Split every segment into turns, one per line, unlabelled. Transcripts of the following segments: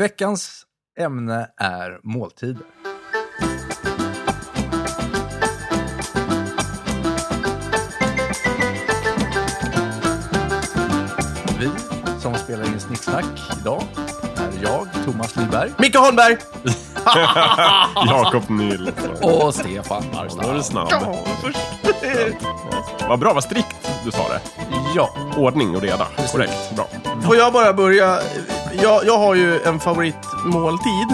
Veckans ämne är måltider. Vi som spelar in Snicksnack idag är jag, Thomas Lyberg
Micke Holmberg!
Jakob Nilsson.
och Stefan
Då är du
Barstam.
snabb. Vad bra, vad strikt du sa det.
Ja,
Ordning och reda. Korrekt. Bra.
Får jag bara börja? Jag, jag har ju en favoritmåltid.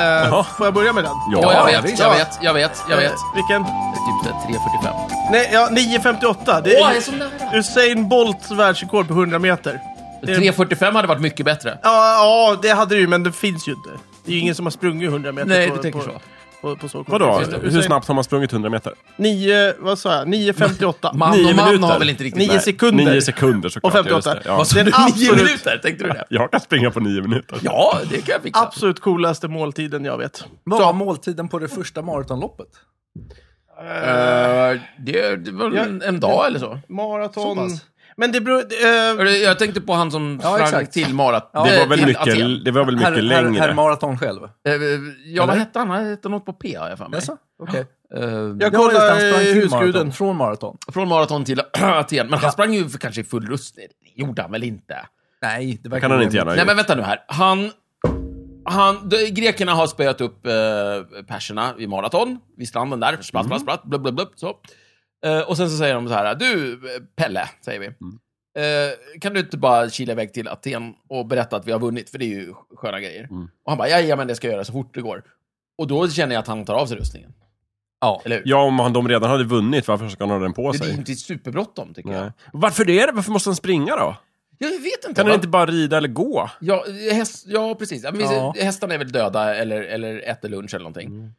Eh, får jag börja med den?
Ja,
jag
ja,
vet,
visst.
jag
Ja.
vet, jag vet, jag vet.
Eh, vilken?
Typ såhär 3.45.
Nej, ja, 9.58. Det är,
Åh, jag är
ju
så nära.
Usain Bolts världsrekord på 100 meter. Det-
3.45 hade varit mycket bättre.
Ja, ja, det hade du ju, men det finns ju inte. Det är ju ingen som har sprungit 100 meter
Nej,
på,
du tänker
på,
så.
på, på så kort
Vadå?
tid.
Hur snabbt har man sprungit 100 meter?
9, vad sa jag? 9.58.
Man
Nio
och man
minuter.
har väl inte riktigt...
Nio
Nej.
sekunder.
Nio sekunder såklart.
Och 58.
ja, just det. Ja.
Vad sa
Den
du? Nio
absolut-
minuter? Tänkte du det?
Jag kan springa på nio minuter.
Ja, det kan jag fixa.
Absolut coolaste måltiden jag vet.
vad var måltiden på det första maratonloppet?
Eh, det, det var
Ja.
en, en dag eller så.
Så
Maraton.
pass.
Men det beror... Eh,
Eller, Jag tänkte på han som
Ja,
sprang
exakt.
till Marat.
Ja.
Det
eh,
var väl
till
mycket,
Aten.
det var väl mycket
Herr- herr-
längre?
Herr maraton själv?
Eh, Ja, vad hette han? Han hette något på P, har jag för mig.
Jaså? Okej.
Eh,
Jag
Ja, just det, han
kollar
sprang
eh,
till maraton,
husguden.
Från maraton.
Från maraton till Aten. Men han sprang ju för kanske i full rust. Det gjorde han väl inte?
Nej, det verkar
kan han inte gärna ha
Nej,
gjort.
men vänta nu här. Han... Han, de, grekerna har spöat upp eh, perserna i maraton, vid stranden där. Splatt,
Mm.
splatt, splatt, blub, blub, blub, så. Eh, och sen så säger de så här, du eh, Pelle, säger vi.
Mm.
Eh, kan du inte bara kila iväg till Aten och berätta att vi har vunnit, för det är ju sköna grejer.
Mm.
Och han bara, ja, men det ska jag göra så fort det går. Och då känner jag att han tar av sig rustningen.
Ja.
Eller hur?
Ja, om han- de redan hade vunnit, varför ska han ha den på
det är
sig?
inte superbråttom, tycker
Nej. Varför det? Varför måste han springa då?
jag. Jag vet inte.
Kan
va?
han inte bara rida eller gå?
Ja, häst, ja precis. Ja, men visst,
Ja.
Hästarna är väl döda eller, eller äter lunch eller någonting.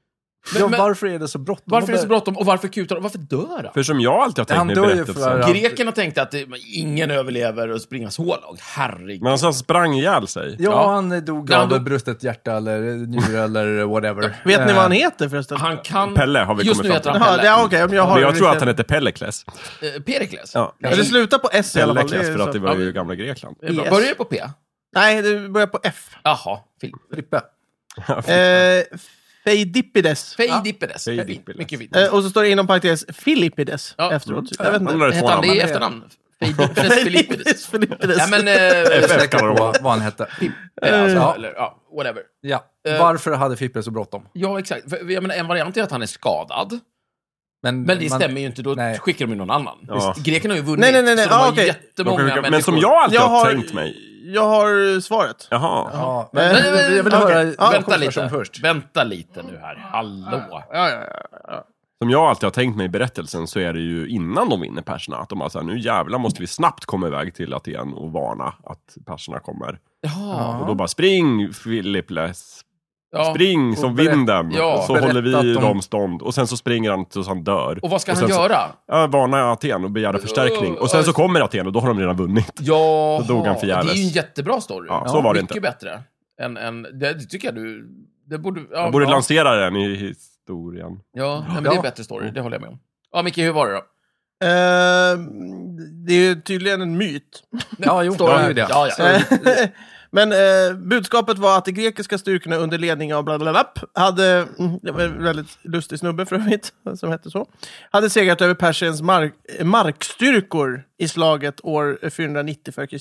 ja,
men-
varför är det så bråttom?
Varför är det så bråttom och varför kutar de? Varför dör han?
För som jag alltid har tänkt
Han
mig i
dör ju
berättelsen.
för-
Grekerna tänkte att det, ingen överlever att springa så långt. Herregud.
Men alltså, han sprang ihjäl sig.
Ja,
Ja.
han dog
Nej,
av
han dog-
brustet hjärta eller njure eller whatever.
Vet ni vad han
Eh,
heter förresten?
Han kan...
Pelle har vi
Just
kommit
nu
fram
heter han
Jaha,
Pelle.
det, ja, okej, men jag har
Men jag tror
riktigt-
att han hette Pellekles.
Eh, Perikles.
Ja.
Nej.
Ja, Det slutar på S i alla fall.
Pellekles,
är
för
så.
att det var ju gamla Grekland.
Eh,
Yes.
Börjar det på P?
Nej, det börjar på F.
Jaha. Fil-
Frippe.
Eh, Feidippides.
Feidippides.
Feidippides.
Mycket fint.
Eh, och så står det inom parentes Filippides
Ja.
efteråt. Jag vet
Han
inte.
har ett
Hette han det
förnamn.
i efternamn? Feidippides
Filippides.
Filippides.
Filippides.
Nej, men... Eh,
F.
Säker på vad han hette.
Pippe, alltså,
Ja.
eller, ja, whatever.
Ja.
Eh.
Varför hade Frippe så bråttom?
Ja, exakt. För, jag menar, en variant är att han är skadad. Men det
man-
stämmer ju inte, då
nej.
skickar de ju någon annan.
Ja.
Visst, Grekerna har ju vunnit,
Nej, nej, nej, nej.
så de har
Ah, okej.
jättemånga
De kan-
människor.
Men som jag alltid
jag,
har
har,
tänkt mig.
jag har svaret.
Jaha.
Ja, men,
Men-
jag vill- jag vill
Okej.
höra
Ja,
Vänta
Jakobs
lite.
version först.
Vänta lite nu här. Hallå.
Som jag alltid har tänkt mig i berättelsen så är det ju innan de vinner perserna. Att de bara såhär, nu jävlar måste vi snabbt komma iväg till Aten och varna att perserna kommer.
Ja.
Och då bara spring Filipples,
ja.
spring som
Och berä-
vinden.
Ja.
så
Berätta
håller
att
vi
de-
dem stånd. Och sen så springer han tills han dör.
Och vad ska han
sen så-
göra?
Ja, varna Aten och begära förstärkning. Och sen så kommer Aten och då har de redan vunnit.
Ja,
Då dog han förgäves.
Det är ju en jättebra story.
Ja, så var det
Mycket
inte.
bättre. Än, än, det tycker jag du... Det borde... Ja,
Jag borde
ja.
lansera den i historien.
Ja, nej, men det är
Ja.
en bättre story. Det håller jag med om. Ja, Micke, hur var det då?
Eh, det är ju tydligen en myt.
Ja, jo,
Story.
det är ju Alltså, det.
Ja, ja.
Eh, Men eh, budskapet var att de grekiska styrkorna under ledning av blablabla hade, mm, det var en väldigt lustig snubbe för övrigt, som hette så, hade segrat över Persiens mark, eh, markstyrkor i slaget år 490 f.Kr.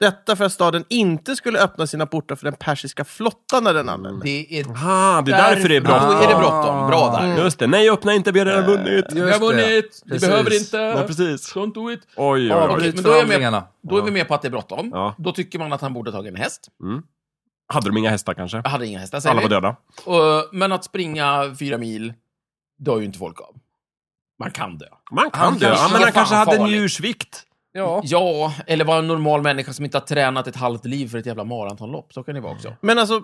Detta för att staden inte skulle öppna sina portar för den persiska flottan när den anlände.
Det är...
Ah, det är därför det är bra.
Då är det Mm. bråttom. Bra där.
Just det, nej öppna inte, vi har redan vunnit.
Vi har vunnit. Vi
Precis.
behöver inte.
Nej, precis.
Don't do it.
Oj, oj,
Ja,
oj.
Okej,
Avbryt
men då är, jag med,
förhandlingarna.
då är vi med på att det är bråttom.
Ja.
Då tycker man att han borde ha tagit en häst.
Hade de inga hästar kanske?
Jag hade inga hästar, säger
Alla var
vi.
döda.
Och, men att springa fyra mil dör ju inte folk av. Man kan dö.
Man kan
Han
dö.
kanske-
Ja, men han
fan
kanske hade en
farligt.
njursvikt.
Ja.
Ja, eller vara en normal människa som inte har tränat ett halvt liv för ett jävla maratonlopp. Så kan det vara också.
Men alltså,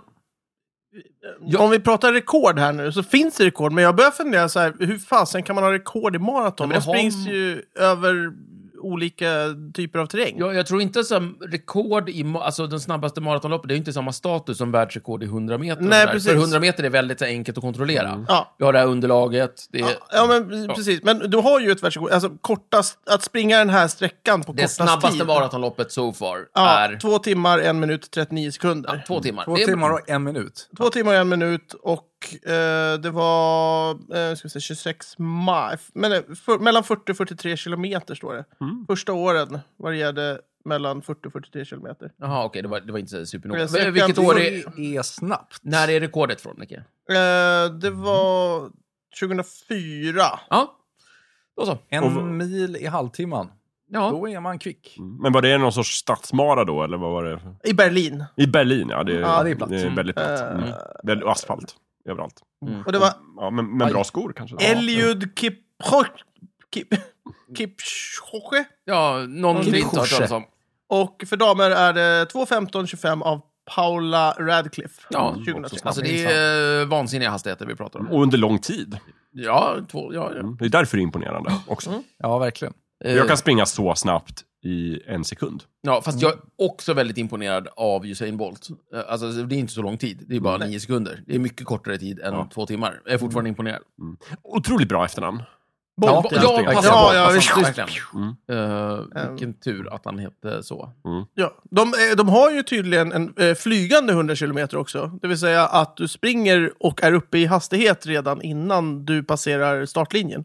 Ja.
om vi pratar rekord här nu, så finns det rekord, men jag börjar fundera så här, hur fasen kan man ha rekord i maraton?
Ja, men
det
det har-
springs ju över olika typer av terräng.
Jag, jag tror inte som rekord i, ma- alltså den snabbaste maratonloppet, det är ju inte samma status som världsrekord i 100 meter. och
Nej,
sådär.
precis.
För 100 meter är väldigt så här, enkelt att kontrollera.
Mm.
Ja.
Vi har det här underlaget. Det är,
Ja, ja, men precis. Men du har ju ett världsrekord. Alltså, kortast, att springa den här sträckan på
det
kortast
snabbaste
tid.
maratonloppet so far
Ja,
är
Två timmar, en minut, 39 sekunder.
två timmar.
Två
Det är-
timmar och en minut.
Två timmar och en minut och eh, det var eh, ska vi säga, 26 maj. Men, eh, för, mellan 40 och 43 kilometer står det. Första åren varierade mellan 40 och 43 kilometer.
Jaha, okej, det, var, det var inte så
Jag
supernoga.
ser
Men Vilket
kanske-
år är...
är snabbt.
När är rekordet från, Micke?
Eh, det var 2004.
Ja, då så.
En
Och Mm. vad-
mil i halvtimman.
Ja.
Då är man kvick.
Men var det någon sorts stadsmara då, eller vad var det?
I Berlin.
I Berlin, ja. Det,
Ja, det är platt.
väldigt platt.
Eh,
Mm. Det är asfalt överallt.
Och det var
Ja, men, men bra skor kanske.
Eliud Kipchoge Kip, Kipchoge.
Ja, någon
Kim
vi inte har hört talas om.
Och för damer är det 2.15.25 av Paula Radcliffe.
Ja,
2003.
Alltså det är eh, vansinniga hastigheter vi pratar om.
Mm. Och under lång tid. Mm.
Ja, två, ja, Mm. ja.
Det är därför det är imponerande också.
Ja, verkligen.
Jag
Eh,
kan springa så snabbt i en sekund.
Ja, fast jag är också väldigt imponerad av Usain Bolt. Eh, Alltså, det är inte så lång tid. Det är bara nio sekunder. Det är mycket kortare tid än
Ja. Mm.
två timmar. Jag är fortfarande imponerad.
Otroligt bra efternamn.
Ja,
Bolt, ja,
verkligen.
passa
Ja,
på.
ja,
passa på,
visst.
Alltså, verkligen. Eh, vilken tur att han hette så.
Ja, de, eh, de har ju tydligen en eh, flygande 100 km också. Det vill säga att du springer och är uppe i hastighet redan innan du passerar startlinjen.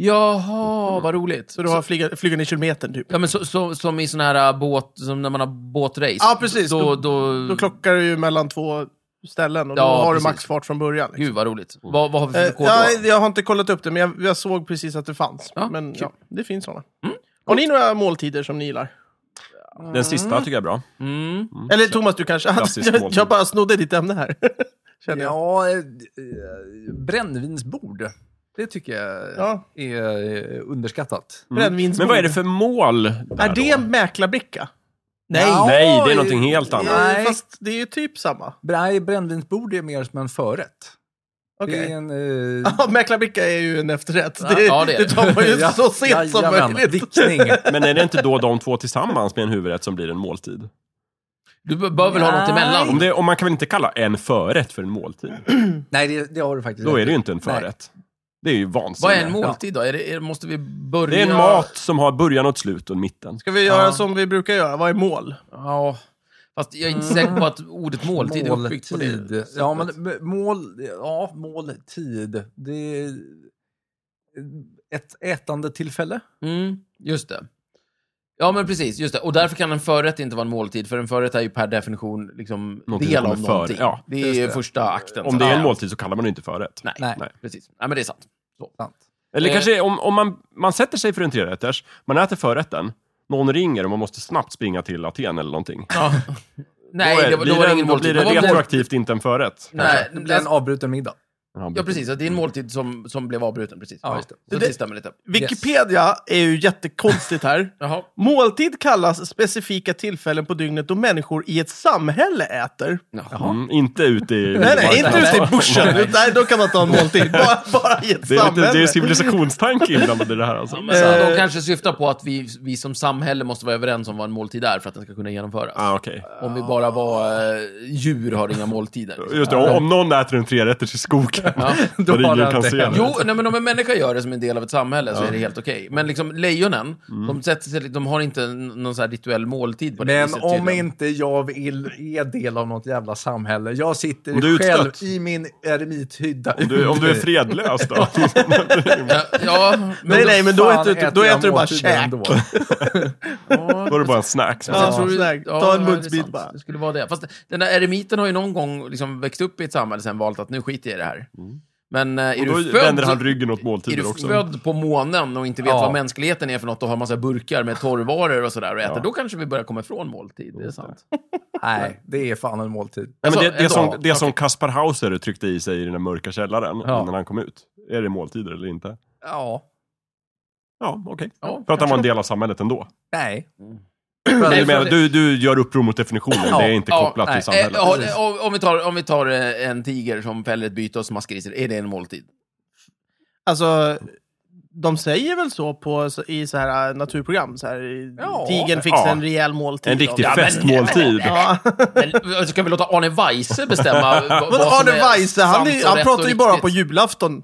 Jaha, vad roligt.
Så du har flyga, flygande kilometern typ.
Ja, men så, så, som i sån här äh, båt, som när man har båtrace.
Ja, precis.
Då,
Då-
då,
Då klockar du ju mellan två ställen och då
Ja,
har
precis.
du maxfart från början. Liksom.
Gud, vad roligt.
Mm.
Vad, vad har vi för
Eh,
rekord
jag,
då?
jag har inte kollat upp det, men jag, jag såg precis att det fanns.
Ja,
men
kul. Mm.
ja, det finns sådana. Har ni några måltider som ni gillar?
Den sista tycker jag är bra.
Mm.
Eller Thomas, du kanske...
Klassisk
jag,
måltid.
jag bara snodde ditt ämne här. Känner jag.
Ja, eh, eh, brännvinsbord. Det tycker jag
Ja.
är eh, underskattat.
Brännvinsbord.
Mm. Men vad är det för mål? Där
Är det
då?
en mäklarbricka?
Ja,
Nej, det är
eh,
någonting helt annat.
Nej.
Eh, Fast det är ju typ samma.
Nej, brännvinsbord är mer som en förrätt.
Okej.
Det är en... eh,
Ja, mäklarbricka är ju en efterrätt.
Ja,
Det,
ja, det är det.
tar man ju
ja,
så sent som
jajamän,
möjligt.
Vickning.
Men är det inte då de två tillsammans med en huvudrätt som blir en måltid?
Du b- bör väl ha något
Nej.
emellan?
Mm.
Om det, och man kan väl inte kalla en förrätt för en måltid?
Nej, det, det har du faktiskt
Då
rätt
är det
i.
ju inte en förrätt. Det är ju
Vad
vansinne.
är en måltid då? Är det, är, måste vi börja...
Det är en mat som har början och ett slut och en mitten.
Ska vi göra som vi brukar göra? Vad är mål?
Ja, fast jag är inte säker på att ordet måltid är uppbyggt på det
Måltid.
sättet.
Ja, men m- mål, ja, måltid. Det är ett ätande tillfälle.
Mm, just det. Ja, men precis. Just det. Och därför kan en förrätt inte vara en måltid, för en förrätt är ju per definition liksom
Någonting
del
som
av
är för-
någonting.
ja,
det
just
är
det.
första akten.
Om det är en
Ja,
måltid så kallar man det inte förrätt.
Nej,
Nej.
precis. Nej, men det är sant.
Sant.
Eller
Eh.
kanske om, om man, man sätter sig för en trerätters, man äter förrätten, någon ringer och man måste snabbt springa till Aten eller någonting.
Ja. Nej,
då, är,
det, var-
blir
då var det
det,
ingen
då blir
måltid.
det
Vad var mål-
retroaktivt inte en förrätt.
Nej,
Det blir
det-
en avbruten middag.
Ja, precis. Det är en måltid som, som blev avbruten. Precis.
Ja.
Ja, just det. Så
Det-
det stämmer lite.
Wikipedia är ju jättekonstigt här.
Jaha.
Måltid kallas specifika tillfällen på dygnet då människor i ett samhälle äter.
Jaha.
Mm, inte ute i...
Nej, nej, inte
marknaden.
ute i bushen. Nej, då kan man ta en måltid. Bara, bara i ett
Det är, lite,
samhälle.
det är civilisationstanke inblandad i det här alltså.
Men så, de
Eh.
kanske syftar på att vi, vi som samhälle måste vara överens om vad en måltid är för att den ska kunna genomföras.
Ah, okej.
Om vi bara var eh, djur har inga måltider. liksom.
Just det, om, om någon äter en trerätters i skogen,
Ja.
där
har
ingen
han
kan
det.
se det.
Jo, nej, men om en människa gör det som en del av ett samhälle så är det helt okej. Men liksom lejonen, de, sätter sig, de har inte n- någon så här rituell måltid på det
Men
viset,
om
tydligen.
inte jag vill är del av något jävla samhälle. Jag
Om
sitter
du är
själv
utstött.
i min eremithydda.
Om du, om du är fredlös då?
Ja, ja, men
Nej,
då-
nej, men då
Fan,
äter du, då
jag
äter du bara
måltiden
käk.
ändå.
Då är det bara en snack. som
Ja.
sägs.
Jag tror-
snägg. Ta en
ja, det är
munsbit
sant.
bara.
Det skulle vara det. Fast den där eremiten har ju någon gång liksom växt upp i ett samhälle sen valt att nu skiter jag i det här. Men eh, är
Mm. Då
du
vänder han
född...
ryggen åt
Är
måltider
du
också.
född på månen och inte vet
Ja.
vad mänskligheten är för något och har massa burkar med torrvaror och sådär och äter, då kanske vi börjar komma ifrån måltid. Det är sant.
Nej, det är fan en måltid.
Ja, men
Alltså,
det det,
en
som,
dag.
det som Kaspar Hauser tryckte i sig i den där mörka källaren
Ja.
innan han kom ut. Är det måltider eller inte?
Ja,
Ja, okej.
Ja,
För att han var en del av samhället ändå.
nej.
Men
Nej,
du, menar, du, du gör uppror mot definitionen, det är inte
Ja,
kopplat
nej.
till samhället.
Eh, ja, eh, om, om, vi tar, om vi tar eh, en tiger som fäller ett byte och smaskar i sig, är det en måltid?
Alltså, de säger väl så på, så- i så här eh, naturprogram? Så här, i-
Ja,
Tigern fick sig
ja.
en rejäl måltid.
En riktig
av-
men-
festmåltid.
Ja.
Men, alltså, ska vi låta Arne Weise bestämma v- vad
Men
som
Arne
är
Weise, han,
sant
är-
och
han
rätt
pratar
och
ju bara
riktigt?
på julafton.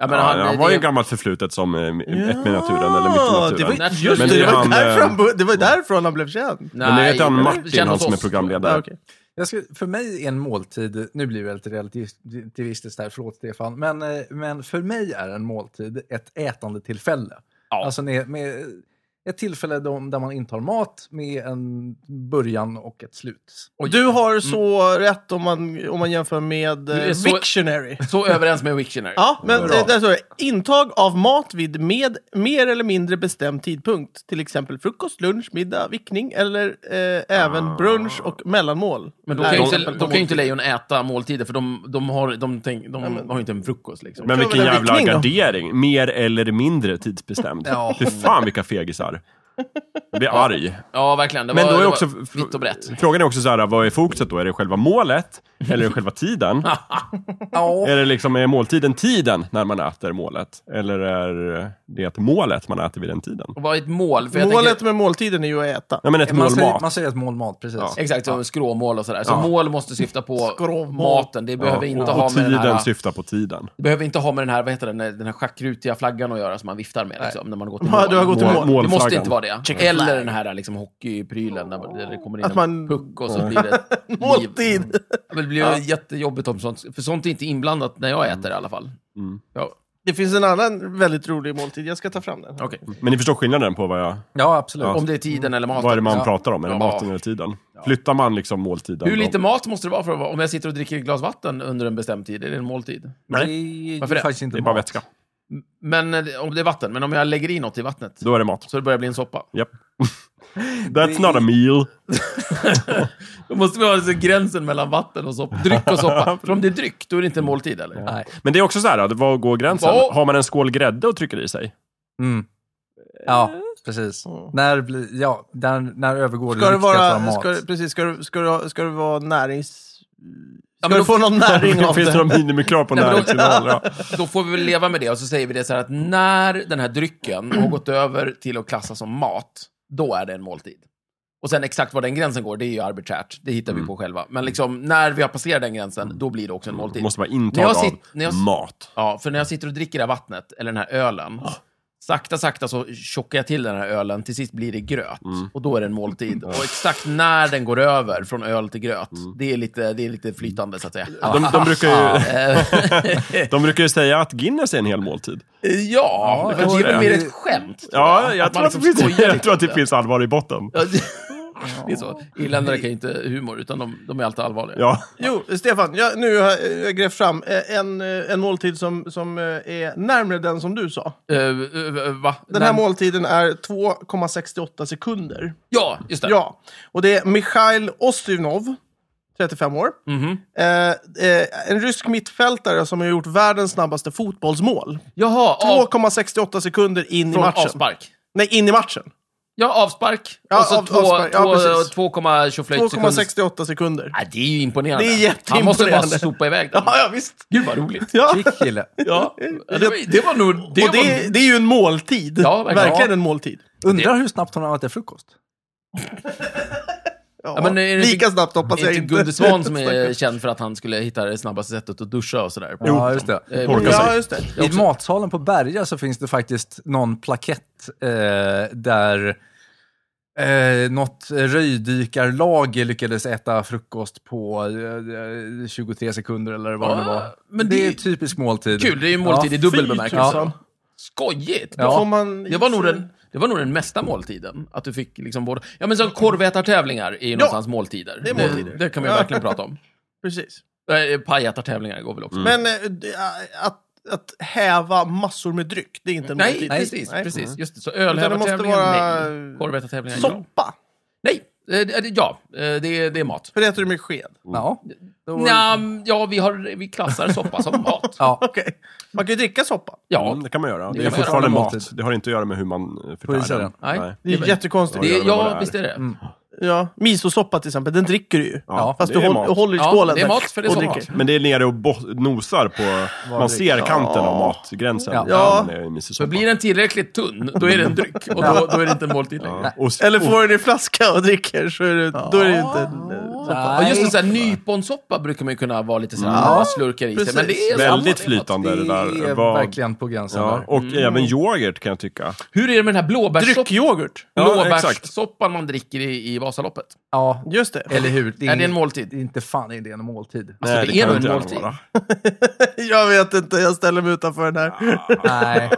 Ja, men
Ja,
han,
han,
det-
var ju gammalt förflutet som eh, ett med naturen eller mycket
Ja, det
med naturen.
var,
Naturen.
just
Men
det,
det
det
är
var,
han,
därför,
eh,
han, bo- det var därifrån han blev känd.
Nej,
Men det heter han Martin,
känn
han
hos
som är
oss.
programledare.
Ja, okej.
Jag ska, för mig är en måltid, nu blir jag lite relativistiskt här, förlåt Stefan, men, eh, men för mig är en måltid ett ätande tillfälle.
Ja.
Alltså med, med ett tillfälle dom- där man intar mat med en början och ett slut.
Du har så rätt om man, om man jämför med
mm. Du är
eh,
så-
Wiktionary.
Så överens med Wiktionary.
Ja, men
Bra.
det, där står det. Intag av mat vid med mer eller mindre bestämd tidpunkt. Till exempel frukost, lunch, middag, vickning eller eh,
Ah.
även brunch och mellanmål.
Men då
Nej,
kan, ju inte,
exempel på
då kan ju inte
måltid.
lejon äta måltider, för de, de, har, de, tänk, de har ju inte en frukost. Liksom.
Men
Kör
vilken
väl en
jävla
vickning då.
gardering. Mer eller mindre tidsbestämd.
Ja.
Fy fan vilka fegisar. Jag blir arg.
ja, verkligen. Det
Men
var,
då är
det
också,
var vitt och brett.
Frågan är också så här, vad är fokuset då? Är det själva målet? Eller är det själva tiden?
Ja,
Är det liksom, är måltiden tiden när man äter målet? Eller är det målet man äter vid den tiden?
Och Vad är ett mål? För jag
Målet
tänker,
med måltiden är ju att äta.
Ja men ett
man,
mål
säger, man
mat.
säger ett målmat, precis.
Ja.
exakt, som skråmål och sådär. Så
Ja.
mål måste syfta på
Skråmål.
maten. Det
Ja,
behöver, inte
och-
ha
och
med den
tiden
här,
syftar på tiden.
det behöver inte ha med den här, vad heter den, den här schackrutiga flaggan att göra som man viftar med liksom, när man har gått i
Ja,
mål.
du har gått i
Mål-
mål.
Det måste
målflaggan.
inte vara det. Eller den här liksom, hockeyprylen där där det kommer in
Att
en
man-
puck och så blir det ett liv.
Måltid!
Men det blir ju jättejobbigt om sånt, för sånt är inte inblandat när jag äter i alla fall.
Mm.
Ja,
Det finns en annan väldigt rolig måltid. Jag ska ta fram den.
okej.
Men ni förstår skillnaden på vad jag...
Ja, absolut.
Om det är tiden eller maten.
Vad är det man
Ja.
pratar om? Är det
Ja.
maten eller tiden? Flyttar man liksom måltiden?
Hur
då?
lite mat måste det vara för att vara, om jag sitter och dricker ett glas vatten under en bestämd tid? Är det en måltid?
Nej.
Det är ju
Varför det?
faktiskt inte
Det är bara
mat.
vätska.
Men eh, om det är vatten, men om jag lägger i något i vattnet
Då är det mat.
så det börjar bli en soppa.
Japp. That's not a meal.
Då måste vi ha alltså gränsen mellan vatten och soppa. Dryck och soppa. För om det är dryck, då är det inte en måltid eller?
Nej.
Men det är också så här, vad går gränsen?
Vad?
Har man en skål grädde och trycker i sig?
Mm. Ja,
Eh.
precis.
Mm.
När, blir- ja, där, när övergår
Ska det
riktiga till att
vara...
vara
Ska,
mat?
precis, ska du, ska, du, ska du vara närings... Ska
men
du
då-
få någon näring av
Finns
det?
det några minimikrav på
Nej, men då-
näringsinnehåll? Ja.
Då får vi väl leva med det och så säger vi det så här att när den här drycken har gått över till att klassas som mat, då är det en måltid. Och sen exakt var den gränsen går, det är ju arbiträrt. Det
Mm.
hittar vi på själva. Men liksom, när vi har passerat den gränsen, då blir det också en
Det
måltid.
måste vara
När
intag
jag
av
sit- när jag-
mat. Ah.
Ja, för när jag sitter och dricker det här vattnet, eller den här ölen, sakta, sakta så tjockar jag till den här ölen, till sist blir det gröt.
Mm.
Och då är det en måltid.
Ah.
Och exakt när den går över från öl till gröt,
Mm.
det, är lite, det är lite flytande så att säga.
De, de, brukar ju,
Eh,
de brukar ju säga att Guinness är en hel måltid.
ja,
det
för det
tror
är väl
jag.
mer ett skämt. tror
Ja, jag,
Att man
tror, att det
liksom
finns,
skojar
jag
lite
tror att det
om
typ finns allvar i botten.
Ja, det- Det är så. Irländare kan ju inte humor, utan de, de är alltid allvarliga.
Ja.
Jo, Stefan, jag, nu har jag- jag grävt fram eh, en, eh, en måltid som, som eh, är närmare den som du sa.
Eh, eh, va?
Den här
Men-
måltiden är 2,68 sekunder.
Ja, just det.
Ja, och det är Mikhail Ostyvnov, 35 år.
Mhm.
Eh, eh, en rysk mittfältare som har gjort världens snabbaste fotbollsmål.
Jaha, av,
2,68 sekunder in i
från
matchen.
avspark.
Nej, in i matchen.
Ja, avspark.
Ja,
och så
av- avspark. Ja, precis.
2,25 sekunder.
2,68 sekunder.
Nej, det är ju imponerande.
Det är
Han måste bara
jätteimponerande.
sopa iväg den.
Ja, ja visst.
Gud vad roligt.
Ja.
Kick, kille.
Ja, det, var, det var nog... Det
och det,
var,
det är ju en måltid.
Ja, verkligen.
verkligen. en måltid.
Undrar hur snabbt hon har ätit frukost.
Ja,
Ja, men är det
lika
inte-
snabbt hoppas
är
jag
inte
inte.
Gunde Svan som är känd för att han skulle hitta det snabbaste sättet att duscha och sådär?
Ja, just det.
Eh,
Torka sig.
Ja, just det.
Jag
I
också.
matsalen på Berga så finns det faktiskt någon plakett eh, där eh, något röjdykarlag lyckades äta frukost på eh, 23 sekunder eller vad
Ja,
det var.
men
det,
det-
är typisk måltid.
Kul, det är ju måltid i dubbel
fy
bemärkelse.
tusan.
Skojigt!
Ja.
Får man-
Det var, nog den, det var nog den mesta måltiden. Att du fick liksom både... Ja, men så korvätartävlingar är ju någonstans måltider.
det är måltider.
Det, det kan vi ju verkligen prata om.
Precis.
Eh, Pajätartävlingar går väl också. Mm.
Men eh, det- eh, att, att häva massor med dryck, det är inte en
Nej,
måltid.
precis.
Nej. Mm.
precis. Just det. Så
Utan det måste
ölhävartävlingar,
vara-
nej. Korvätartävlingar, ja.
Soppa,
Nej, eh, det- det- ja. eh, Det är, det är mat.
för det äter du med sked.
Ja. Då-
Nja, ja, vi, har, vi klassar soppa som mat.
Ja,
Okej. Man kan ju dricka soppa.
Ja,
Mm, det kan man göra. Det
kan
är
man
fortfarande
göra.
mat. Det har inte att göra med hur man eh,
Får du
förtär
säga
den.
den? Nej.
Det är
Det är-
jättekonstigt.
Ja,
Det,
det var
ja,
det
Mm.
visst är det.
Ja, misosoppa till exempel, den dricker du ju.
Ja,
Fast
det
du
är
håll,
mat.
håller i
Ja,
skålen.
det är
där
mat, för det är
och
sommar.
dricker.
Men det är nere och bo- nosar på... Man ser kanten av matgränsen.
Ja.
Ja.
när man är i misosoppa.
Så blir den tillräckligt tunn, då är det en dryck. Och då, då är det inte en måltid längre.
Ja. Och, s-
Eller
och-
får du den i flaska och dricker, så är det, då är det ju inte... en, eh, soppa.
Ja, just det, såhär, nyponsoppa brukar man ju kunna vara lite såhär, ja, slurkar i sig. Men det är
precis.
samma,
Väldigt
det är
flytande det,
Det
där.
är
Vad-
verkligen på gränsen
ja,
där.
och även yoghurt kan jag tycka.
mat. Hur är det med den här blåbärssoppan
Dryckyoghurt.
Ja, exakt.
blåbärssoppan man dricker i, i Vasaloppet?
Ja,
Just det.
eller hur?
Är det en
ingen-
måltid?
det är inte fan är det en måltid.
Alltså,
Nej,
det
det
är
kan
nog
inte
en
gärna
måltid.
vara.
Jag vet inte, jag ställer mig utanför den här.
Nej.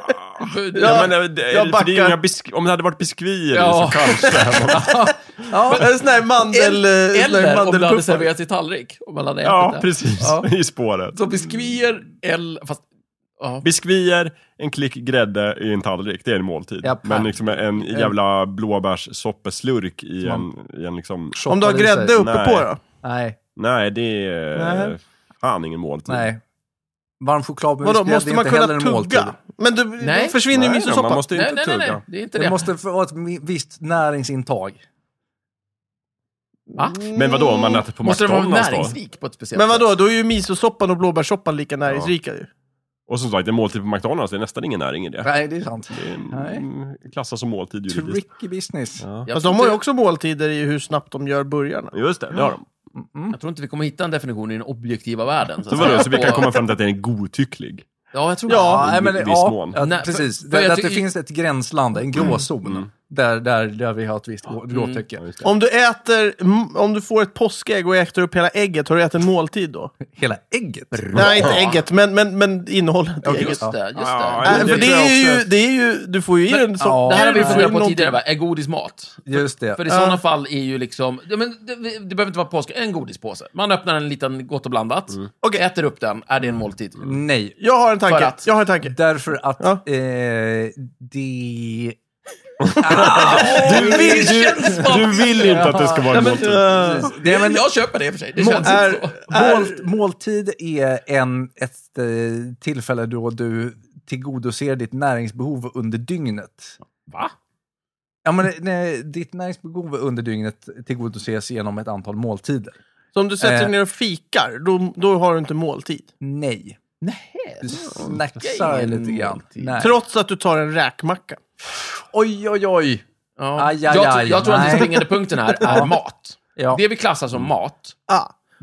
Ja, men, eh, det,
jag
för det är ju
backar.
inga bisk- om det hade varit biskvier i
Ja.
så kanske.
En sån här mandel... eh, sån här
Eller om det hade
mandelpuffar.
serverats i tallrik. Om man hade
ja,
ätit det.
precis.
Ja.
I spåret.
Så biskvier eller... Fast, ja.
Biskvier, en klick grädde i en tallrik, det är en måltid.
Japp.
Men liksom en jävla blåbärssoppesslurk i en, i en liksom...
Om du har
Shoppar i sig.
grädde uppe
Nej.
på då?
Nej,
Nej, det är
Nej.
fan ingen måltid.
nej. Varm choklad med
Vadå,
vispgrädde
måste
är
man
inte heller
kunna
en måltid.
tugga? Men du,
Nej.
då försvinner ju
Nej, då, man
misosoppan.
måste
Nej,
inte
nej, nej, nej,
tugga.
det är inte det.
Det måste vara ett mi- visst näringsintag.
Va?
Men vadå, om man äter på
Måste den vara
McDonalds då?
näringsrik på ett speciellt
Men vadå, då är ju misosoppan och blåbärssoppan lika näringsrika ju.
Och som sagt, en måltid på McDonalds, det är nästan ingen näring i det.
Nej, det är sant.
Det är en-
Nej.
mm, klassas som måltid juridiskt.
Tricky business.
Ja.
sätt? Jag
Fast de
tror
har ju
inte-
också måltider i hur snabbt de gör burgarna.
Just det, det har de.
Jag tror inte vi kommer hitta en definition i den objektiva världen.
Så,
att säga.
vadå, så vi kan
Och-
komma fram till att den är godtycklig.
Ja, jag tror
Ja,
I
nej, men,
viss
ja,
mån.
ja
Nej,
precis.
för- för
det,
jag
att det
ty-
finns ett gränsland, en gråzon, Där, där, där vi har ett visst grå- gråtycke.
Mm. Ja, just det.
Om du äter, mm, om du får ett påskägg och äter upp hela ägget, har du ätit en måltid då?
Hela ägget?
Nej, inte ägget, men, men, men innehållet i
det.
ägget.
Just det, just det.
Ja,
Nej,
det
Äh, för det
tror jag
är, ju,
också.
det är ju, du får ju i dig en
ja,
sort...
Det här har vi
Nej.
funderat på
Någonting.
tidigare, va? Är godis mat?
Just det.
För i sådana fall är ju liksom... Ja, men det, det behöver inte vara påsk, en godispåse. Man öppnar en liten Gott och blandat,
Mm.
äter upp den, är det en måltid?
Nej.
Jag har en
För
tanke,
att-
jag har en tanke.
Därför att
Ja.
eh, det...
Du, vill-
känns
du, du vill inte att det ska vara en måltid.
Precis. Det, men,
Jag köper det i och för sig, det känns
eh, är-
inte så.
mål, måltid är en, ett eh, tillfälle då du tillgodoser ditt näringsbehov under dygnet.
Va?
Ja, men, eh, nej, ditt näringsbehov under dygnet tillgodoses genom ett antal måltider.
Så om du sätter dig
Eh.
ner och fikar, då, då har du inte måltid.
Nej.
Nej.
Du snacksar
ingen
lite grann.
måltid.
Nej.
Trots att du tar en räkmacka.
Oj, oj, oj.
Ja.
Aj, aj,
jag, tror-
aj.
jag tror att den
Nej.
springande punkten här är mat.
Ja. Mm.
Det vi klassar som mat,
Ah.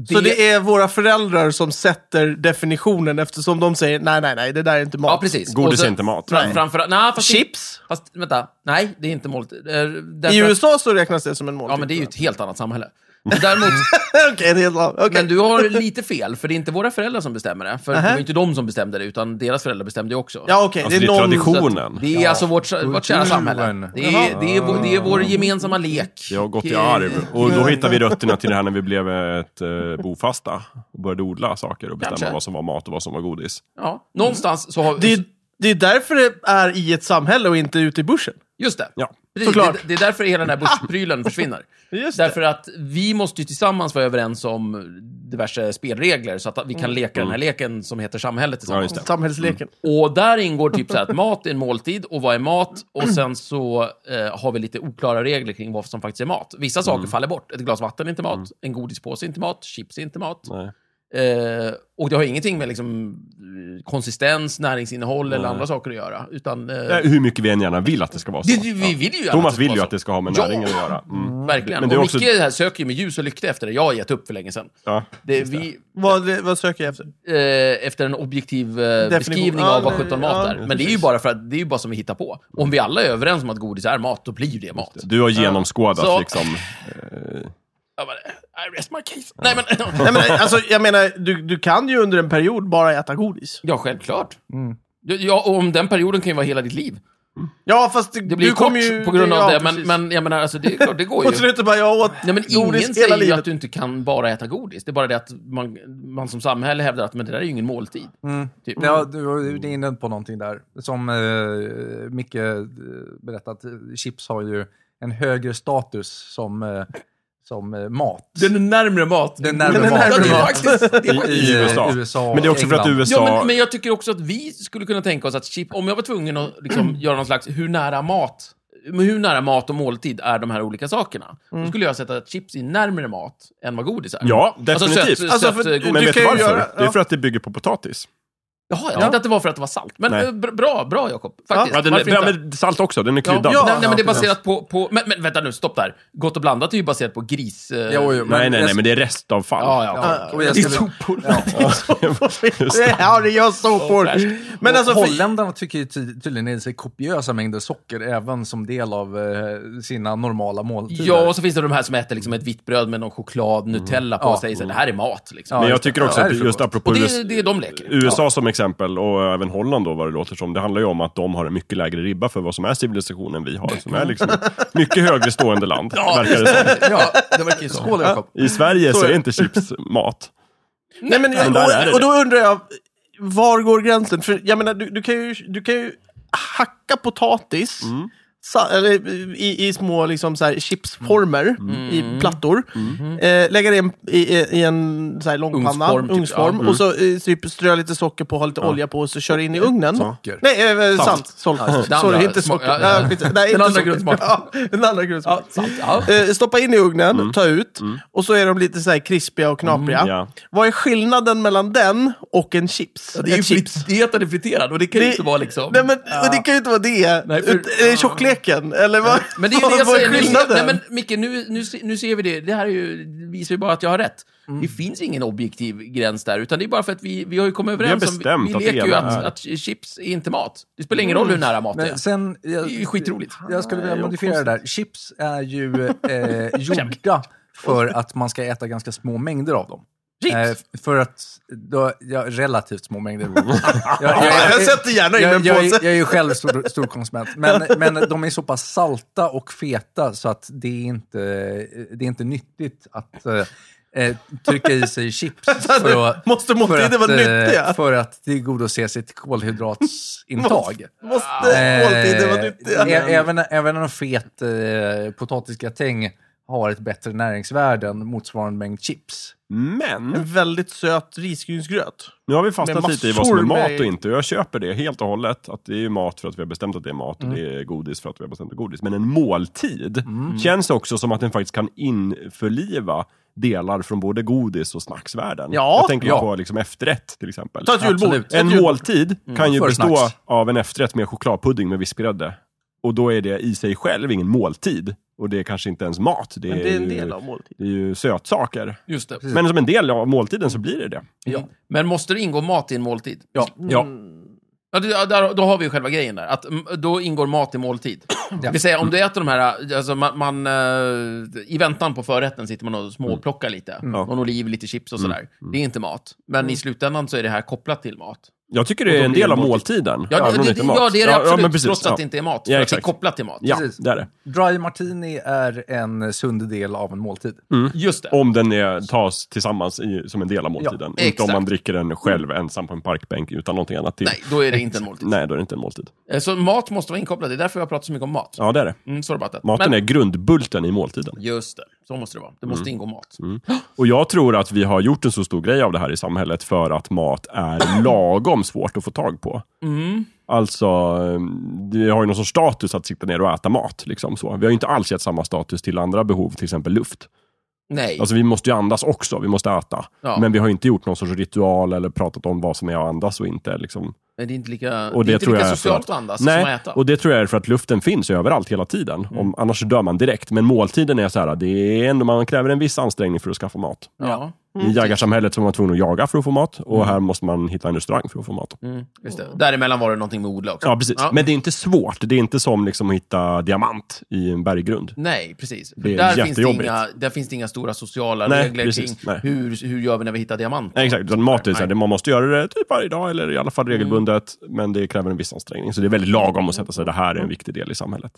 Så
Det-
det är våra föräldrar som sätter definitionen eftersom de säger nej, nej, nej, det där är inte mat.
Ja, precis.
Godis
Och så-
är inte mat.
Fram,
Nej.
framför, nej, fast
Chips?
Det, fast vänta, nej, det är inte måltid. Eh, därför
I
att-
USA så räknas det som en måltid.
Ja, men det är ju ett helt annat samhälle. Men Däremot,
Okej, det är helt av. Okej.
men du har lite fel, för det är inte våra föräldrar som bestämmer det. För det
Nähä.
var ju inte de som bestämde det, utan deras föräldrar bestämde ju också.
Ja, okej.
Alltså,
det är, någon...
traditionen.
Det är alltså vårt, vårt kära samhälle. Det är, det, är vår, det är vår gemensamma lek. Eh,
Det har gått i arv. Och då hittar vi rötterna till det här när vi blev ett eh, bofasta. Och började odla saker och bestämma
Kanske.
vad som var mat och vad som var godis.
Ja, någonstans så har
Det är, det är därför det är i ett samhälle och inte ute i bushen.
Just det.
Ja.
Precis, det,
Såklart.
det är därför hela den här börsprylen försvinner.
Just
Därför att vi måste ju tillsammans vara överens om diverse spelregler, så att vi
Mm.
kan leka den här leken som heter samhället
Mm. Ja,
tillsammans.
just det.
Samhällsleken.
Och där ingår typ så här att mat är en måltid och vad är mat? Och sen så eh, har vi lite oklara regler kring vad som faktiskt är mat. Vissa saker
Mm.
faller bort. Ett glas vatten är inte mat, en godispåse är inte mat, chips är inte mat.
Nej.
Eh, och det har ingenting med liksom, eh, konsistens, näringsinnehåll eller andra saker att göra. Utan, eh,
Eh, Hur mycket vi än gärna vill att det ska vara så.
det, vi vill ju gärna
Thomas
det ska
vill
vara
ju
så.
att det ska ha med
Ja.
näringen att göra. Mm.
Verkligen.
Men det är
och
också-
Micke här söker ju med ljus och lykta efter det. Jag har gett upp för länge sedan.
Ja.
Det, vi,
Vad, vad söker jag efter?
eh, efter en objektiv eh, beskrivning
Ja,
av vad
nej,
17 mat
ja,
är. Men det är ju bara för att det är ju bara som vi hittar på. Om vi alla är överens om att godis är mat, då blir ju det mat.
Du har genomskådat
Så.
liksom.
Jag bara, I rest my case. Nej, men,
Nej, men, alltså, jag menar, du, du kan ju under en period bara äta godis.
ja, självklart.
Mm.
Ja, och om den perioden kan ju vara hela ditt liv.
Ja, fast det,
Det blir
du
ju kort
kommer ju...
på grund av
ja,
det, men,
precis.
men jag menar, alltså, det, är klart, det går
Och
ju.
slutet bara, jag åt
Nej, men
godis
ingen
hela
säger ju
livet.
att du inte kan bara äta godis. Det är bara det att man, man som samhälle hävdar att men det där är ju ingen måltid.
Mm.
Typ.
Ja, du var ju inne på någonting där. Som eh, Micke eh, berättat, eh, chips har ju en högre status som, eh, som eh, mat.
Den är närmre mat.
Den är närmare
Den är
mat.
närmare
Ja, det är
mat.
faktiskt... Det är
I,
faktiskt
I USA.
USA och
Men det är också för att
England.
USA...
eh, Ja, men, men jag tycker också att vi skulle kunna tänka oss att chip, om jag var tvungen att liksom, göra någon slags hur nära mat men hur nära mat och måltid är de här olika sakerna? Då skulle jag sätta att chips är närmare mat än vad godis är.
Ja,
Alltså
definitivt.
sött,
Alltså,
sött,
för-
godis.
Men
Du
vet
kan
du
ju
varför?
göra-
Det är
ja.
för att det bygger på potatis.
Jaha, jag trodde att det var för att det var salt. Men
Nej.
eh, br- bra, bra Jakob. Faktiskt.
Ja, den är,
Varför
ja,
inte?
men salt också, den är
Ja,
kryddad.
nej, nej,
Ja,
men det är
precis.
baserat på... på men, men vänta nu, stopp där. Gott och blandat är ju baserat på gris... eh,
Jo, jo, men-
Nej, nej,
jag-
nej, men det är restavfall.
Ja, ja.
Ja, och jag
Det är
skulle-
sopor.
Just det.
Ja, det gör sopor. Men alltså, för-
Holländarna tycker ju ty- tydligen i sig kopiösa mängder socker även som del av eh, sina normala måltider.
Ja, och så finns det de här som äter liksom ett vitt bröd med någon choklad, Nutella på
Ja.
sig. Så det här är mat. Liksom.
Men
Ja,
jag
just det.
tycker också
Ja,
att
det är
just
frukost.
apropå
och
US,
det, det är de leker.
USA som exempel, och även Holland då vad det låter som, det handlar ju om att de har en mycket lägre ribba för vad som är civilisationen vi har, som är liksom ett mycket högre stående land, verkar det som.
ja det verkar ju så. Skål, Jakob.
I Sverige
Så
så
är
är
det.
inte chips mat.
Nej, men,
Men där är det
och, och då undrar jag, var går gränsen? För jag menar, du, du, kan, ju, du kan ju hacka potatis sa, eller, i, i små liksom, så här, chipsformer
Mm.
i plattor. Eh, lägga det i en, i, i en så här, långpanna,
Ugnsform,
ugnsform,
typ. Ja.
och så eh, typ, strö lite socker på, ha lite olja på och så kör in i ugnen.
Socker.
Nej, eh, salt.
Salt.
salt.
Den
Sorry,
andra
inte socker.
smak- ja, ja.
Nej, skit- nej,
Den
inte
andra
socker.
grundsmaken.
Ja, den andra grundsmaken.
Ja, sant. Ja.
Eh, stoppa in i ugnen, ta ut och så är de lite så här krispiga och knapriga.
Mm. ja.
Vad är skillnaden mellan den och en chips?
Det är ju
Ett chips.
fritert eller friterad och det kan ju
Det-
inte vara liksom...
Nej, men, och Det kan ju inte vara det.
Nej, för-
Ut- Är det tjockleken? Eller vad,
Men det är ju det jag
vad
säger. Nu, ser-
skillnaden?
nej, men Micke, nu, nu, se- nu ser vi det. Det här är ju, visar ju bara att jag har rätt. Det finns ingen objektiv gräns där, utan det är bara för att vi, vi har ju kommit överens om...
bestämt
Vi,
att
vi leker
det
ju
ena
att,
är-
att chips är inte mat. Det spelar ingen roll hur nära mat det är.
Men sen,
Det är ju skitroligt.
Jag skulle vilja modifiera det där. Chips är ju eh, gjorda för att man ska äta ganska små mängder av dem.
Chips?
Eh, för att, då, ja, relativt små mängder. jag, jag,
jag sätter gärna in
jag,
en
jag,
påse.
är- jag är ju själv stor, stor konsument. Men, men de är så pass salta och feta så att det är inte, det är inte nyttigt att eh, eh, trycka i sig chips. För att,
Måste måltiden vara
eh,
nyttiga?
för att tillgodose sitt kolhydratsintag.
Måste
Eh,
måltiden vara nyttiga?
ä- även, även en fet eh, potatisgratäng har ett bättre näringsvärde än motsvarande mängd chips.
Men,
En väldigt söt risgrynsgröt.
nu har vi
Med
fastnat
massor
lite i vad som är mat
med-
och inte, och jag köper det helt och hållet. Att det är ju mat för att vi har bestämt att det är mat,
Mm.
och det är godis för att vi har bestämt att det är godis. Men en måltid
Mm.
känns också som att den faktiskt kan införliva delar från både godis och snacksvärlden.
Ja.
jag tänker
Ja.
på liksom efterrätt till exempel.
Ta ett julbord. Mm.
Absolut.
Ett
En
jul-
måltid kan ju
för
bestå
snacks.
av en efterrätt med chokladpudding med vispgrädde. Och då är det i sig själv ingen måltid. Och det är kanske inte ens mat. Det är,
Men det är en
ju,
del av måltiden.
det är ju sötsaker.
Just det.
Men som en del av måltiden så blir det det.
Ja. Men måste det ingå mat i en måltid?
Ja.
Ja.
Ja, det, ja, där, då har vi ju själva grejen där. Att, mm, då ingår mat i måltid. Det vill säga, om du äter de här... Alltså, man, man, eh, I väntan på förrätten sitter man och småplockar lite.
Mm.
Någon oliv, lite chips och sådär. Det är inte mat. Men i slutändan så är det här kopplat till mat.
Jag tycker det är en del av måltiden.
Ja,
även
det,
om
det,
inte är mat.
ja det är det absolut.
Ja, men precis.
trots
ja.
att det inte är mat.
Ja,
för att det är
exakt.
kopplat till mat.
Ja,
Precis.
det är det.
Dry martini är en sund del av en måltid.
Mm,
Mm. Just det.
Om den är, tas tillsammans i, som en del av måltiden. inte
exakt.
om man dricker den själv ensam på en parkbänk utan någonting annat till.
Nej, då är det inte en måltid.
Nej, då är det inte en måltid.
Eh, Så mat måste vara inkopplad. Det är därför jag pratar så mycket om mat.
Ja, det är det.
Mm, så är det bara att-
Maten
Men,
är Mm. grundbulten i måltiden.
Just det. Så måste det vara. Det måste ingå mat.
Och jag tror att vi har gjort en så stor grej av det här i samhället för att mat är lagom svårt att få tag på.
Mm.
Alltså, eh, vi har ju någon sorts status att sitta ner och äta mat. Liksom så. Vi har ju inte alls gett samma status till andra behov, till exempel luft.
Nej.
Alltså vi måste ju andas också, vi måste äta.
Ja.
Men vi har inte gjort någon sorts ritual eller pratat om vad som är att andas och inte. Liksom.
Men det är inte lika,
Och
det är inte lika
är för
socialt att andas
Nej,
som att äta. Mm.
Och det tror jag är för att luften finns överallt hela tiden. Om, annars så dör man direkt. Men måltiden är så här, det är ändå, man kräver en viss ansträngning för att skaffa mat.
ja.
I jägarsamhället så var man tvungen att jaga för att få mat och här måste man hitta en restaurang för att få mat.
Mm, just det. Däremellan var det någonting med odla också.
Ja, precis.
Ja.
Men det är inte svårt. Det är inte som liksom att hitta diamant i en berggrund.
Nej, precis. För
Det är
där, finns det
jättejobbigt.
inga, där finns det inga stora sociala
Nej,
regler
precis.
kring
Nej.
hur, hur gör vi när vi hittar diamanter.
Nej, exakt. Utan mat är så här,
Nej.
det- man måste göra det typ varje dag eller i alla fall regelbundet, men det kräver en viss ansträngning. Så det är väldigt lagom att sätta sig, det här är en viktig del i samhället.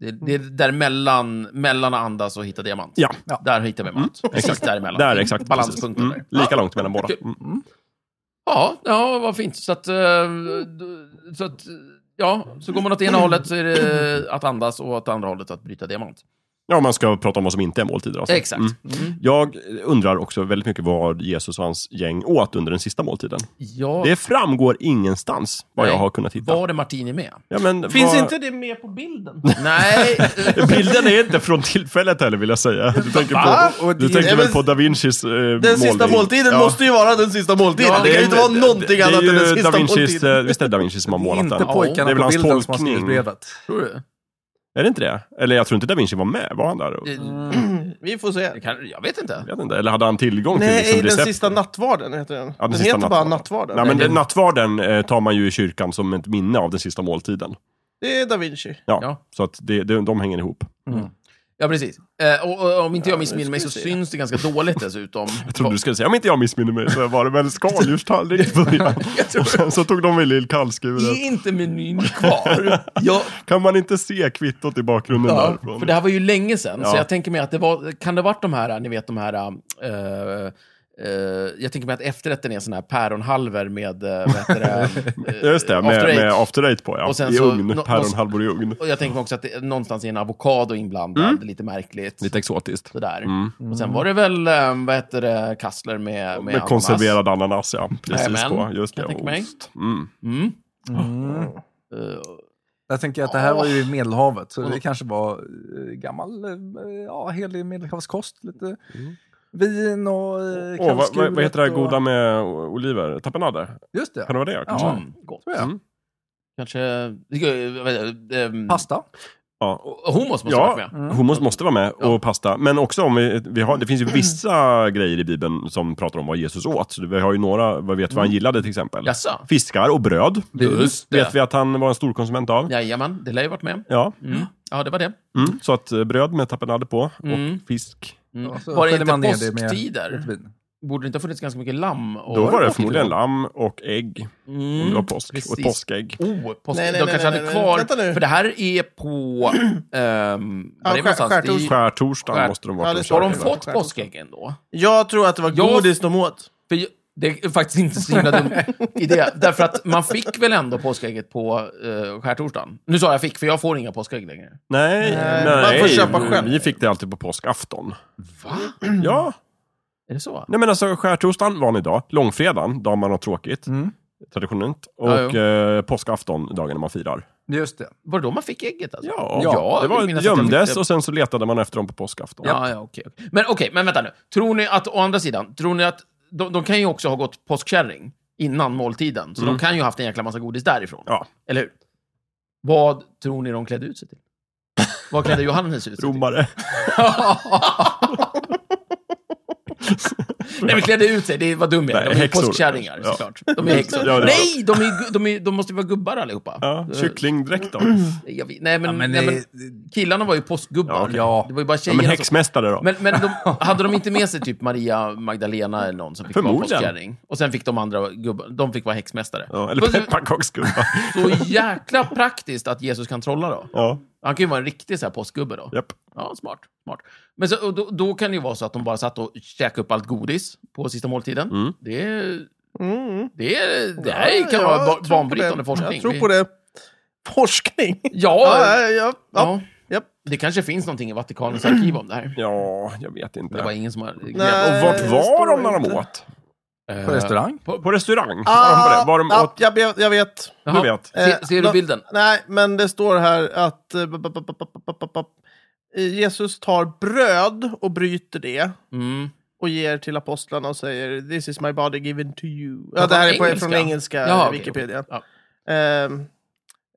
Det, det är däremellan, mellan att andas och hitta diamant.
Ja, Mm.
Där hittar vi mat. Precis
exakt.
däremellan.
där exakt.
Balanspunkten
precis.
där.
Mm. Lika långt mellan båda.
Kul.
Mm.
Ja, ja, vad fint. Så att, eh, d- så att, eh, ja, så går man åt ena hållet så är det att andas och åt andra hållet att bryta diamant.
Ja, om man ska prata om vad som inte är måltider. Alltså.
Exakt.
Mm. Jag undrar också väldigt mycket vad Jesus och hans gäng åt under den sista måltiden.
Ja,
Det framgår ingenstans vad
Nej.
jag har kunnat hitta.
var det Martini med?
Ja,
Eh,
men
Finns
vad-
inte det med på bilden?
Nej,
Bilden är inte från tillfället heller vill jag säga. Du tänker, på,
Och
du
det-
tänker
Ja,
väl
men-
på da Vincis eh,
Den sista måltiden måste ju vara den sista måltiden. det, kan ju inte vara någonting annat än den sista
da Vincis,
måltiden.
eh, Visst är det da Vinci som har målat
Inte
den?
pojkarna
det är väl
på
hans
bilden som har
tolkning.
skrivit brevet.
tror du?
Är det inte det? Eller jag tror inte da Vinci var med. Var han där?
Vi får
Det
se.
kan, jag vet inte.
Jag vet inte. Eller hade han tillgång till
Nej,
liksom,
den
recept?
sista nattvarden heter den.
Ja, den
den
sista
heter bara
nattvarden.
nattvarden.
Nej, men
Nej,
den, nattvarden eh, tar man ju i kyrkan som ett minne av den sista måltiden.
Det är da Vinci.
Ja,
Ja.
Så att det, det, de hänger ihop.
Ja, precis. Eh, och, och, om inte jag missminner
nu
mig
ska
så
vi se.
syns det ganska dåligt dessutom.
Jag trodde du skulle säga, om inte jag missminner mig så var det väl skaldjurstallrik i början. Och sen så tog de väl lillkallskuret.
Är inte menyn kvar? Ja,
Kan man inte se kvittot i bakgrunden
ja,
därifrån?
för det här var ju länge sedan, så
Ja.
jag tänker mig att det var... Kan det ha varit de här, ni vet de här... eh, eh, jag tänker mig att efterrätten är sån här päronhalvor med, eh, vad heter det? eh,
Just det, med
after
after,
eight.
med after eight på ja.
Och sen
I
så-
ugn,
nå-
päronhalvor i ugn.
Och jag tänker mig också att det, någonstans är en avokado inblandad, lite märkligt.
Mm. Lite Mm. exotiskt.
Sådär. Och sen var det väl, eh, vad heter det, kassler med, med,
Med,
ananas.
konserverad ananas ja, precis
Jajamän,
på. Just det,
jag tänker mig.
ost. Mm.
Mm. Eh,
Jag tänker att det här var ju i Medelhavet, så
Mm.
det kanske var eh, gammal, eh, ja, helig medelhavskost. Lite vin och eh,
Och, Mm. vad,
kallskuret
vad heter det här
och-
goda med o- oliver? Tapenade?
Just det,
Kan det vara det? Kanske?
Ja.
mm, gott.
tror jag.
Mm.
Kanske... Äh,
Pasta.
Ja.
Homos måste ha
Ja, Mm.
varit med.
Mm.
hummus måste vara med och pasta. Men också om vi, vi har, det finns ju vissa grejer i Bibeln som pratar om vad Jesus åt. Så vi har ju några, vad vet vi vad han gillade till exempel?
Jaså?
Fiskar och bröd.
Mm. Just det.
Vet vi att han var en storkonsument av.
Jajamän, det lär ju varit med.
Ja.
Mm. Ja, det var det.
Mm. Så att eh, bröd med tapenade på
Mm.
och fisk.
Mm.
Och så
var det
sköljer man
inte
ner det med
påsktider?
lite vin.
Borde det inte ha funnits ganska mycket lamm? Och
Då var det förmodligen lamm och ägg. Om det var
Mm.
påsk. Och
precis.
ett påskägg.
Oh, påsk.
Nej, nej, nej,
de kanske
nej,
hade
nej.
kvar...
Vänta nu.
För det här är på... ehm, var
Ja, skär-
är det någonstans?
skärtorsdag.
Det är ju-
Skärtorsdagen
Skär-
måste de
Ja,
vara
det
på.
står
Har
de
de
skärtorsdag.
fått påskäggen då?
Jag tror att det var
Jag-
godis de åt.
För ju- det är faktiskt inte så himla dum idé. Därför att man fick väl ändå påskägget på uh, skärtorsdagen? Nu sa jag fick, för jag får inga påskägg längre.
Nej,
Nej,
nej,
man får köpa själv.
Vi fick det alltid på påskafton.
Va?
Ja,
Är det så?
nej men alltså skärtorsdagen var en idag. Långfredagen, dagen man har tråkigt.
Mm.
Traditionellt. Och
Ja, jo.
eh, påskafton, dagen när man firar.
Just det.
Var det då man fick ägget? Alltså?
Ja,
Ja,
det
jag
var,
minns att jag
gömdes
tyckte-
och sen så letade man efter dem på påskafton.
Ja, ja, okej. okej. Men okej, men vänta nu. Tror ni att, å andra sidan, tror ni att... De, de kan ju också ha gått påskkärring innan måltiden, så
Mm.
de kan ju ha haft en jäkla massa godis därifrån.
Ja.
Eller hur? Vad tror ni de klädde ut sig till? Vad klädde Johannes ut sig till?
Romare.
Nej, men klädde ut sig, det var dum jag är.
Nej,
De är
häxor.
påskkärringar,
Ja. Mm.
såklart. De är häxor.
Ja, det var-
Nej, de, är, gu- de, är, de måste ju vara gubbar allihopa.
Ja, kycklingdräkt då.
Eh, jag vet- Nej, men,
Ja, Mm, men
nej,
det-
men killarna var ju påskgubbar.
Ja, okej.
Ja.
Det var ju bara
Ja,
tjejerna
men
som...
häxmästare då.
alltså- Men, men de, hade de inte med sig typ Maria Magdalena eller någon som fick vara
Förmodligen.
påskkärring? Och sen fick de andra gubbar, de fick vara häxmästare.
Ja,
Fast det-
eller pepparkaksgubbar.
Så jäkla praktiskt att Jesus kan trolla då.
Ja,
Han kan ju vara en riktig så här påskgubbe då.
japp.
Ja, smart. smart. Men så, och då, då kan det ju vara så att de bara satt och käkade upp allt godis på sista måltiden.
Mm.
Det, är-
Mm.
det, är- det här
Ja,
kan vara
jag tror
ba-
på
banbrytande
det.
forskning.
Jag tror på det. Forskning?
Ja,
Ja,
ja,
ja, ja. ja. Japp.
det kanske finns någonting i Vatikanens arkiv om det här.
Ja, jag vet inte.
Det var ingen som har...
Nej.
Och vart
det
var
står
de när de
inte.
åt?
Eh,
På restaurang.
På restaurang? var de
Ah,
på det? Var de
ah,
åt...
jag, vet- jag vet.
Eh, jaha.
Du vet.
Se, ser du
Eh,
bilden?
Nej, men det står här att eh, b- b- b- b- b- b- b- eh, Jesus tar bröd och bryter det
Mm.
och ger till apostlarna och säger This is my body given to you. Ja,
Ja,
det här är
från
på, från
engelska.
engelska
Jaha, okej,
Wikipedia.
okej.
Ehm,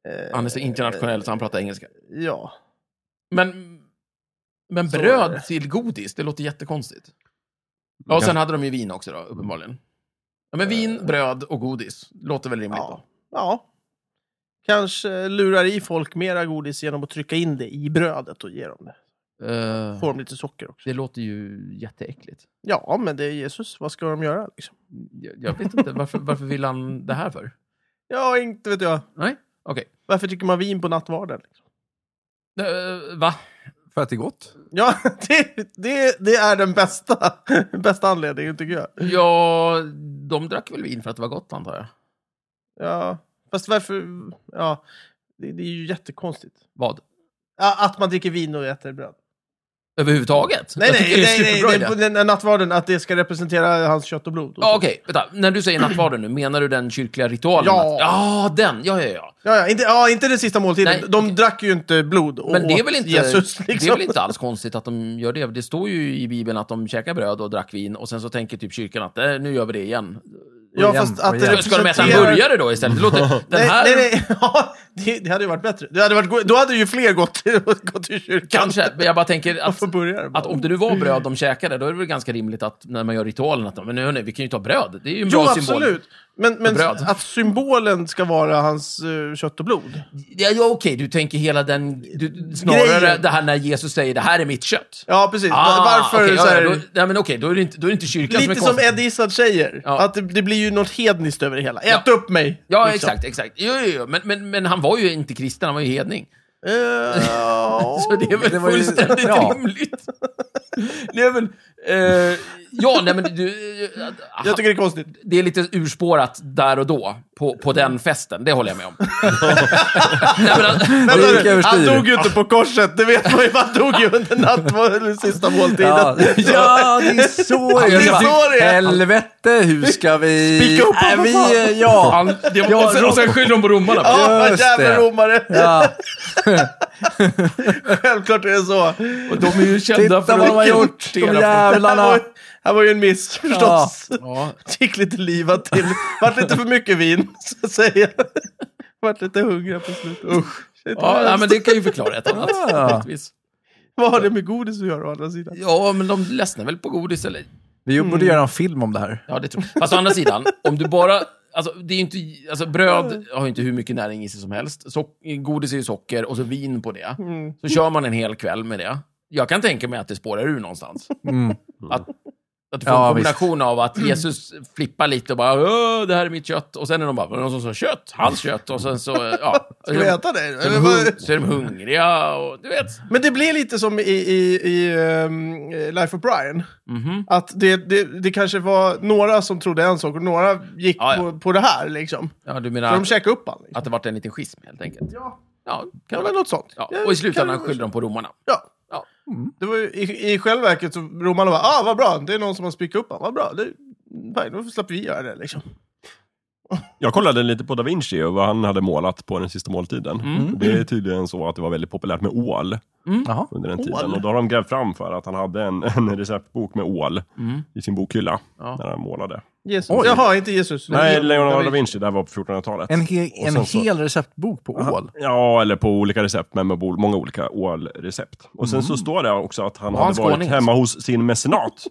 eh,
Han är så internationell så han pratar engelska.
ja.
Men, men
Så är det.
bröd till godis, det låter jättekonstigt. Ja, och sen hade de ju vin också då, uppenbarligen. Ja, men vin, bröd och godis. Låter väl rimligt
Eh. Ja. ja. Kanske lurar i folk mera godis genom att trycka in det i brödet och ge dem det.
då? Eh,
Får dem lite socker också.
det låter ju jätteäckligt.
Ja, men det är Jesus. Vad ska de göra liksom?
Jag, jag vet inte, varför, varför vill han det här för?
Ja, inte vet jag.
Nej, okej.
Varför dricker man vin på nattvarden? Liksom?
Eh, va?
För att det är gott.
Ja, det, det, det är den bästa, bästa anledningen tycker jag.
Ja, de drack väl vin för att det var gott, antar jag.
Ja, fast varför... Ja, det, det är ju jättekonstigt.
Vad?
Ja, att man dricker vin och äter bröd.
Överhuvudtaget.
Nej,
jag
nej,
tycker det är
nej,
superbra
nej,
idé.
nej, nej, nattvarden, att det ska representera hans kött och blod. Och
Ja,
så.
okej. Vänta, när du säger nattvarden nu, menar du den kyrkliga ritualen?
Ja.
Att- ja den. Ja, ja, ja.
Ja, ja, inte, ja, inte den sista måltiden.
Nej,
de
okej.
drack ju inte blod och
Men det är,
åt
väl inte,
Jesus.
det är
Liksom.
väl inte alls konstigt att de gör det? Det står ju i Bibeln att de käkar bröd och drack vin och sen så tänker typ kyrkan att eh, nu gör vi det igen.
ja,
Igen,
fast att det
igen.
Ska de äta en
representerar-
burgare då istället? Det låter, den
Nej,
här,
nej, nej. Ja, det, det hade ju varit bättre. Det hade varit, go- då hade ju fler gått till, gått till kyrkan.
Kanske, men jag bara tänker
Man
att,
får börja det bara.
att om det nu var bröd de käkade, då är det väl ganska rimligt att när man gör ritualen att men hörni, vi kan ju ta bröd. Det är ju en
Jo,
bra symbol.
absolut. Men, men
bröd.
att symbolen ska vara hans eh, kött och blod.
Ja, ja, okej, du tänker hela den... Du, snarare
Grejen.
det här när Jesus säger det här är mitt kött.
Ja, precis.
Ah,
Varför
okej,
så
ja,
här,
ja, då, nej, men okej, då är det inte, då är det inte kyrkan
Lite
som är
som
konstig.
Eddie Izzard säger.
Ja.
Att det, det blir ju något hedniskt över det hela. Ät upp mig!
Ja,
liksom.
exakt, exakt. Jo, jo, jo. Men, men, men han var ju inte kristen, han var ju hedning.
Eh, ja.
Så det är väl
Det var ju-
fullständigt
ja.
rimligt. Det är väl... Eh, ja, nej men du...
Jag tycker det är konstigt.
det är lite urspårat där och då, på, på den festen. Det håller jag med om. nej, men, alltså,
det
Vänta
gick
nu, han
överstyr.
dog ju inte på korset, det vet man ju. Han dog ju under nattvarden, sista måltiden.
Ja, ja, det är så
Det är så det är.
Helvete, hur ska vi...
Spika upp honom,
vi,
för fan.
Ja, Ja,
och, sen, och sen skyller de på romarna.
Ja,
just
jävla
det.
romare!
ja.
Självklart är det så.
Och de är ju kända
Titta
för
vad de har
att...
gjort, de
Det här
jävlarna.
var, ju- här var ju en miss förstås.
Ja.
Fick lite livat till. Vart lite för mycket vin, så att säga. Vart lite hungrig på slutet. Usch. Shit,
Ja, nej, men det kan ju förklara ett annat.
Ja.
givetvis.
Vad har det med godis att göra å andra sidan?
Ja, men de ledsnar väl på godis eller?
Vi borde göra en film om det här.
Ja, det tror jag. Fast å andra sidan, om du bara... Alltså, det är ju inte, alltså,
Mm.
bröd har ju inte hur mycket näring i sig som helst. Sock, godis är ju socker och så vin på det.
Mm.
Så kör man en hel kväll med det. Jag kan tänka mig att det spårar ur någonstans.
Mm.
Att, att du får
Ja,
en kombination av att
Mm.
Jesus flippar lite och bara "Åh, det här är mitt kött. Och sen är de bara, "Var det någon som sa kött? Hans kött. Och sen så, ja.
Ska vi äta det?
Så är, de hung, så är de hungriga och du vet.
Men det blir lite som i, i, i ehm, Life of Brian.
Mhm.
Att det, det, det kanske var några som trodde en sak och några gick
Ja, ja.
På, på det här liksom.
Ja, du
Så
menar
de
att,
käkade upp allt. Liksom.
att det vart en liten schism helt enkelt?
Ja,
Ja,
det
kan
var
väl.
något sånt.
Ja,
Ja,
och i
kan
slutändan
det-
skyllde de på romarna.
Ja. Mm. Det
Ja.
var ju, i, I själva verket så romarna bara, ah vad bra, det är någon som har spikat upp honom, vad bra, det, fine, då slapp vi göra det liksom.
Jag kollade lite på Da Vinci och vad han hade målat på den sista måltiden.
Mm.
Det är tydligen så att det var väldigt populärt med ål
Jaha.
under den
Ål?
tiden. Och då har de grävt fram för att han hade en, en receptbok med ål
Mm.
i sin bokhylla
Ja.
när han målade.
Jesus.
Oj.
Jaha, inte Jesus.
Nej, Leonardo da
Vinci.
Vinci, det här var på 1400-talet.
En, he-
Och
en
sen så-
hel receptbok på ål.
Ja, eller på olika recept, men med bol- många olika ålrecept. Och sen så står det också att han
Var han
hade varit
skåning?
hemma hos sin mecenat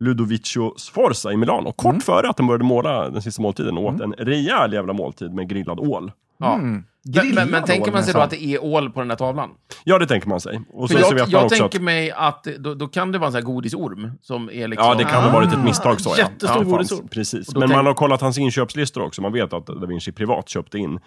Ludovico Sforza i Milano, kort före att han började måla den sista måltiden, åt en rejäl jävla måltid med grillad ål.
Ja.
Mm.
Men, men, men
Grillad
tänker
ål,
man sig då
nästan.
att det är ål på den här tavlan?
Ja, det tänker man sig. Och så,
För
så
jag
vet
jag
man också
tänker
att...
mig att det- då, då kan det vara en sån här godisorm som är liksom...
Ja, det kan ha varit ett misstag så. Ja.
Jättestor
ja, det fanns.
godisord.
Precis.
då
Men
tänk-
man har kollat hans inköpslistor också. Man vet att Da Vinci privat köpte in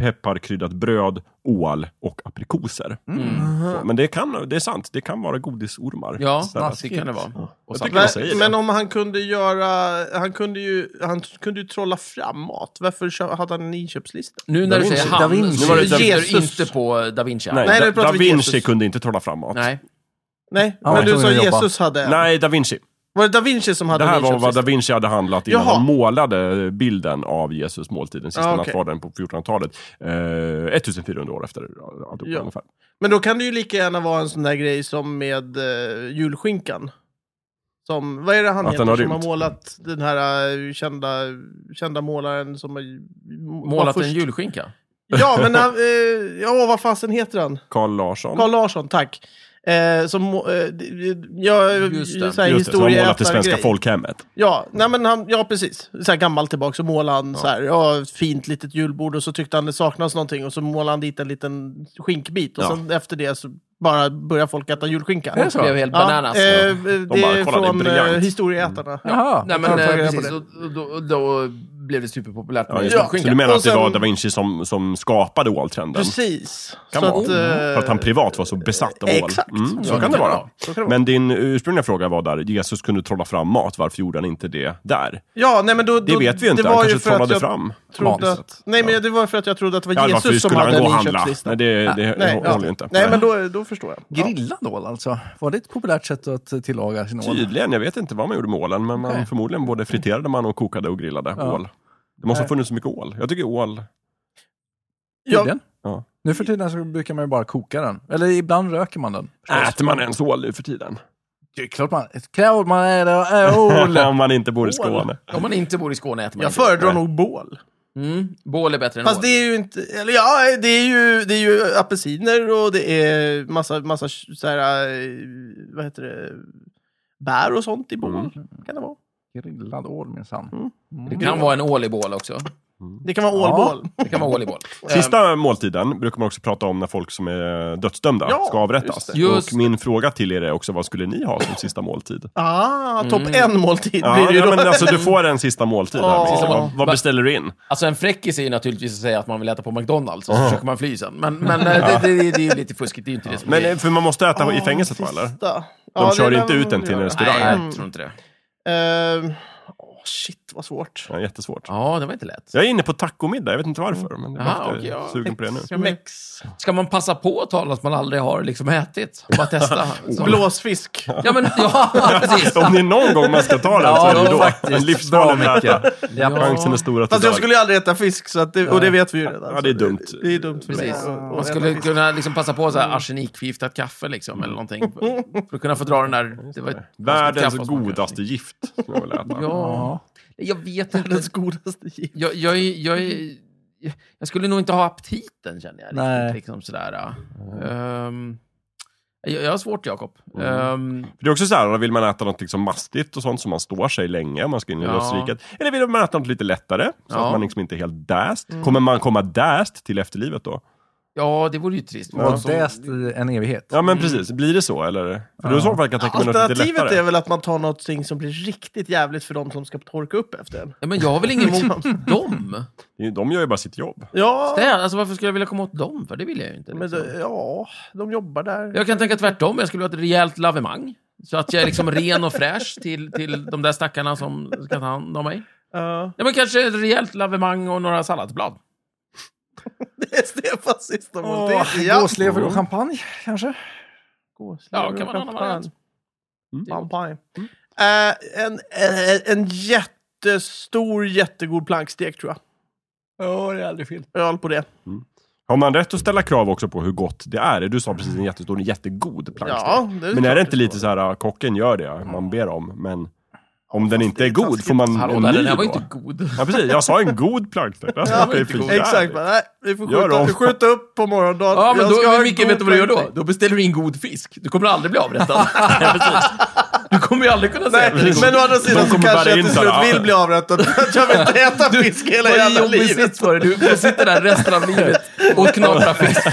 pepparkryddat bröd, ål och aprikoser. Så, Men det, kan, det är sant, det kan vara godisormar.
Ja,
istället.
det kan det vara. Och
Jag
samt-
tycker man säger det.
Men om han kunde göra, han kunde ju, han kunde ju trolla fram mat, varför kö- hade han en inköpslista?
Nu när
Da
du säger
Vinci-
han,
Da Vinci.
så
Nu var det
syftar du
Jesus.
inte på da Vinci. här.
Nej,
Nej, nu
da,
pratar
da
vi
Vinci
Jesus.
kunde inte trolla fram mat.
Nej.
Nej,
Ja,
men du
tvungen
sa
att jobba.
Jesus hade en.
Nej, da Vinci.
Var det da Vinci som hade
Det här
en
var vad da
inköpslista?
Vinci hade handlat innan
Jaha.
han målade bilden av Jesus måltid, den sista
Ah, okej.
nattvarden på 1400-talet. Eh, 1400 år efter alltihopa
Ja.
ungefär.
Men då kan det ju lika gärna vara en sån där grej som med eh, julskinkan. Som, vad är det han
Att
heter
den har
som har
rymt.
målat den här eh, kända, kända målaren som har var
Målat en
först-
julskinka.
Ja, men han, eh, ja, vad fasen heter han?
Carl Larsson.
Carl Larsson, tack. Eh, som, eh, ja,
Just det.
så här
Just det, som har målat det
historieätargrej.
svenska folkhemmet.
Ja, nej men han, ja precis. Så här gammalt tillbaka så målade han så här, ja, ett fint litet julbord och så tyckte han det saknas någonting och så målade han dit en liten skinkbit och
Ja.
sen efter det så bara börjar folk äta julskinka.
Är det så?
Det blev helt bananas.
Ja, eh, det
bara,
är
kolla, det är
från eh,
briljant. Mm.
historieätarna.
Jaha.
Nej, men
Jag tar
eh,
reda på
precis.
det.
Och, och, då, och då blev det superpopulärt
Ja,
med
just det. så
skinka.
du menar
Och
att det var
sen-
Da Vinci som, som skapade åltrenden?
Precis.
Kan
så
vara.
att, eh,
Mm. För att han privat var så besatt av ål.
Exakt.
Mm, så kan det vara.
Så kan det vara.
Men din ursprungliga fråga var där, Jesus kunde trolla fram mat, varför gjorde han inte det där?
Ja, nej, men då, då,
Det vet vi ju inte,
det
han
var ju
kanske
för att
trollade
jag
fram.
trodde
mat.
att, Nej, men det var för att jag trodde att det var
Ja, varför
Jesus som
skulle han
hade
gå och
en
handla?
inköpslista.
Nej, det, det, det
Nej, ja.
håller ju inte.
Nej, men då, då förstår jag. Ja.
Grillad ål alltså? Var det ett populärt sätt att eh, tillaga sin ål?
Tydligen, jag vet inte vad man gjorde med ålen, men man,
Nej.
förmodligen både friterade man och kokade och grillade
Ja.
ål. Det måste
Nej.
ha funnits så mycket ål. Jag tycker ål...
Tydligen.
Ja.
Nu för tiden så brukar man ju bara koka den. Eller ibland röker man den. förstås.
Äter man ens ål nu för tiden?
Det är klart man... Klart man äter ål!
Om man inte bor i Skåne.
Om man inte bor i Skåne äter man
Jag
inte.
föredrar nog bål.
Mm, bål är bättre än
Fast
ål.
det är ju inte... Eller ja, det är ju, det är ju apelsiner och det är massa, massa så här, eh, vad heter det, bär och sånt i bål.
Mm.
Kan det, vara.
Grillad ål minsann.
Det kan vara en ål i bål också.
det kan vara ålbål.
Det kan vara ål i bål.
Sista måltiden brukar man också prata om när folk som är dödsdömda
Ja,
ska avrättas.
just
det. Just
och min fråga till er är också, vad skulle ni ha som sista måltid?
Ah, topp en måltid
Mm.
blir
Ja,
det ju
ja,
då.
men alltså, du får en sista måltid.
Ja.
Här, Micke. vad, vad
Va-
beställer du in?
Alltså en fräckis är ju naturligtvis att säga att man vill äta på McDonalds, och så försöker man fly sen. Men, men eh, det, det, det, det är ju lite fuskigt, det är ju inte det som
Men,
är...
eh, för man måste äta i
Ah,
fängelset va,
sista.
eller?
Ja,
De
det
kör
lär
inte
man
ut en till
göra.
en restaurang.
Nej, jag tror inte det.
Ehm, åh, shit, vad svårt.
Ja, jättesvårt.
Ja, det var inte lätt.
Jag är inne på tacomiddag, jag vet inte varför. Men jag är
Aha,
bara
okej, ja.
sugen på det nu.
Mex.
Ska man passa på att ta något man aldrig har liksom ätit? Och bara testa? Så-
Blåsfisk.
Ja, men ja, precis.
Om det är någon gång man ska ta den så är det ju då. En livsfarlig
Bra, Micke.
människa.
Ja.
Chansen är stor att det
Fast jag
dör.
skulle ju aldrig äta fisk, så att det, och det vet vi ju redan.
Ja, det är dumt.
Så Det, det är dumt för
Precis.
mig.
Man skulle kunna liksom passa på så här arsenikförgiftat kaffe liksom, eller någonting. För att kunna få dra den där... Det var ett-
Världens
kaffe och smaka.
godaste gift. skulle jag vilja äta.
Ja, jag vet inte.
Världens godaste gift.
Jag, jag, är- jag, är- jag skulle nog inte ha aptiten, känner jag.
Nej.
Riktigt, liksom sådär. ja. Ehm, jag, jag har svårt, Jakob. Ehm,
För det är också så här, vill man äta något som mastigt och sånt som man står sig länge om man ska in i
Ja.
dödsriket. Eller vill man äta något lite lättare, så
Ja.
att man liksom inte är helt däst. Kommer man komma däst till efterlivet då?
ja, det vore ju trist.
Och
Som-
däst i en evighet.
Ja, men precis. Blir det så, eller? För då i så fall kan jag tänka mig något lite
Alternativet
lättare.
är väl att man tar någonting som blir riktigt jävligt för de som ska torka upp efter en.
Ja, men jag har väl inget emot dem?
Det är- De gör ju bara sitt jobb.
Ja,
Det, är- alltså, varför skulle jag vilja komma åt dem? För det vill jag ju inte.
men
Liksom.
det, ja de jobbar där.
Jag kan tänka tvärtom. Jag skulle vilja ha ett rejält lavemang. Så att jag är liksom ren och fräsch till, till de där stackarna som ska ta hand om mig.
Ja.
Ja, men kanske ett rejält lavemang och några salladsblad.
Det är Stefans sista måltid.
Åh,
ja.
Gåslever och champagne, kanske?
Ja, kan man ha någon variant. Mm.
Champagne. Eh, en, eh, en jättestor, jättegod plankstek tror jag.
Ja, det är aldrig fel.
Öl på det.
Har man rätt att ställa krav också på hur gott det är? Du sa precis en jättestor, en jättegod plankstek.
Ja, det
Men är
klart
det inte
ska
lite
vara.
så här, "Ah, kocken gör det man ber om, men om den inte
det
är
är
god
taskigt.
får man
Hallå,
en
där,
Mm, ny
den här var ju
då?
inte god.
Ja, precis. Jag sa en god plankstek. Jag sa
Ja,
att det är fint.
Exakt, bara, nej, vi får
Gör
skjuta,
om.
skjuta upp på morgondagen.
Ja, men
Jag ska ha
då,
en
Micke,
god
vet du vad du gör då?
plankstek.
Då beställer du in god fisk. Du kommer aldrig bli avrättad. Ja, precis. du kommer ju aldrig kunna säga
Nej,
att den är god.
men å andra sidan
De
så
kommer
kanske
bära
jag
in
till
så här,
slut
ja.
vill bli avrättad för att jag vill inte äta fisk hela
Vad är
jävla
jobbig
livet.
sits för dig? Du får sitta där resten av livet och knapra fisk.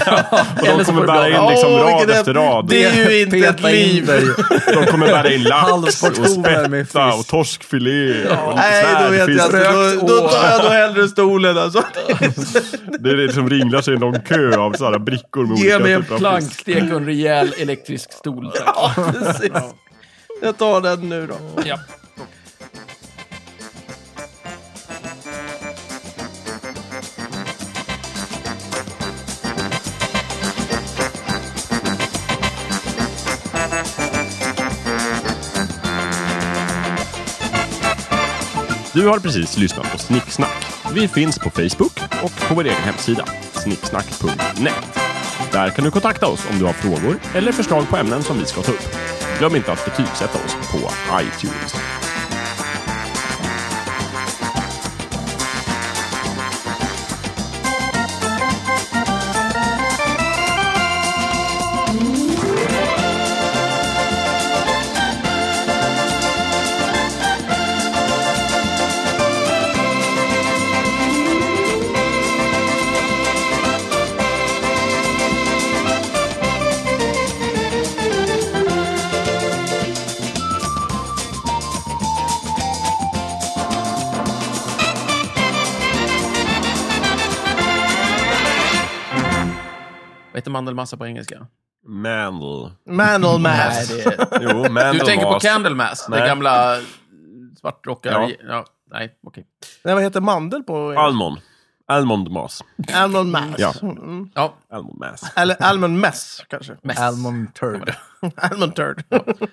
Och de
så får
kommer
du
bära
bli
in
av-
liksom
Åh,
rad
vilket
efter rad.
Det är ju inte ett
Peta in
liv.
dig.
De kommer bära in lax och
Halsportioner med
spätta
fisk.
och torskfilé. Och
Nej, då vet jag
svärdfisk.
inte. Då, då tar jag då hellre stolen alltså.
Det är det som ringlar sig i en lång kö av sådana brickor med
Ge
olika
mig en
typer av fisk.
plankstek och en rejäl elektrisk stol, tack.
Ja, precis. Jag tar den nu då.
Ja.
Du har precis lyssnat på Snicksnack. Vi finns på Facebook och på vår egen hemsida, snicksnack.net. Där kan du kontakta oss om du har frågor eller förslag på ämnen som vi ska ta upp. Glöm inte att betygsätta oss på iTunes.
heter mandelmassa på engelska?
Mandel.
Manal
Nej,
mass.
det är...
Jo, mandel
Du tänker på Candlemass, det
Nej.
gamla svartrockar... Ja.
Ja.
nej, okej.
Nej, vad heter mandel på?
Almond. Almond mas.
Almond mass.
Ja.
Mm.
Ja,
Almond mas.
Eller almond mess, kanske.
mess.
Almond turd.
Almond turd.
Eh,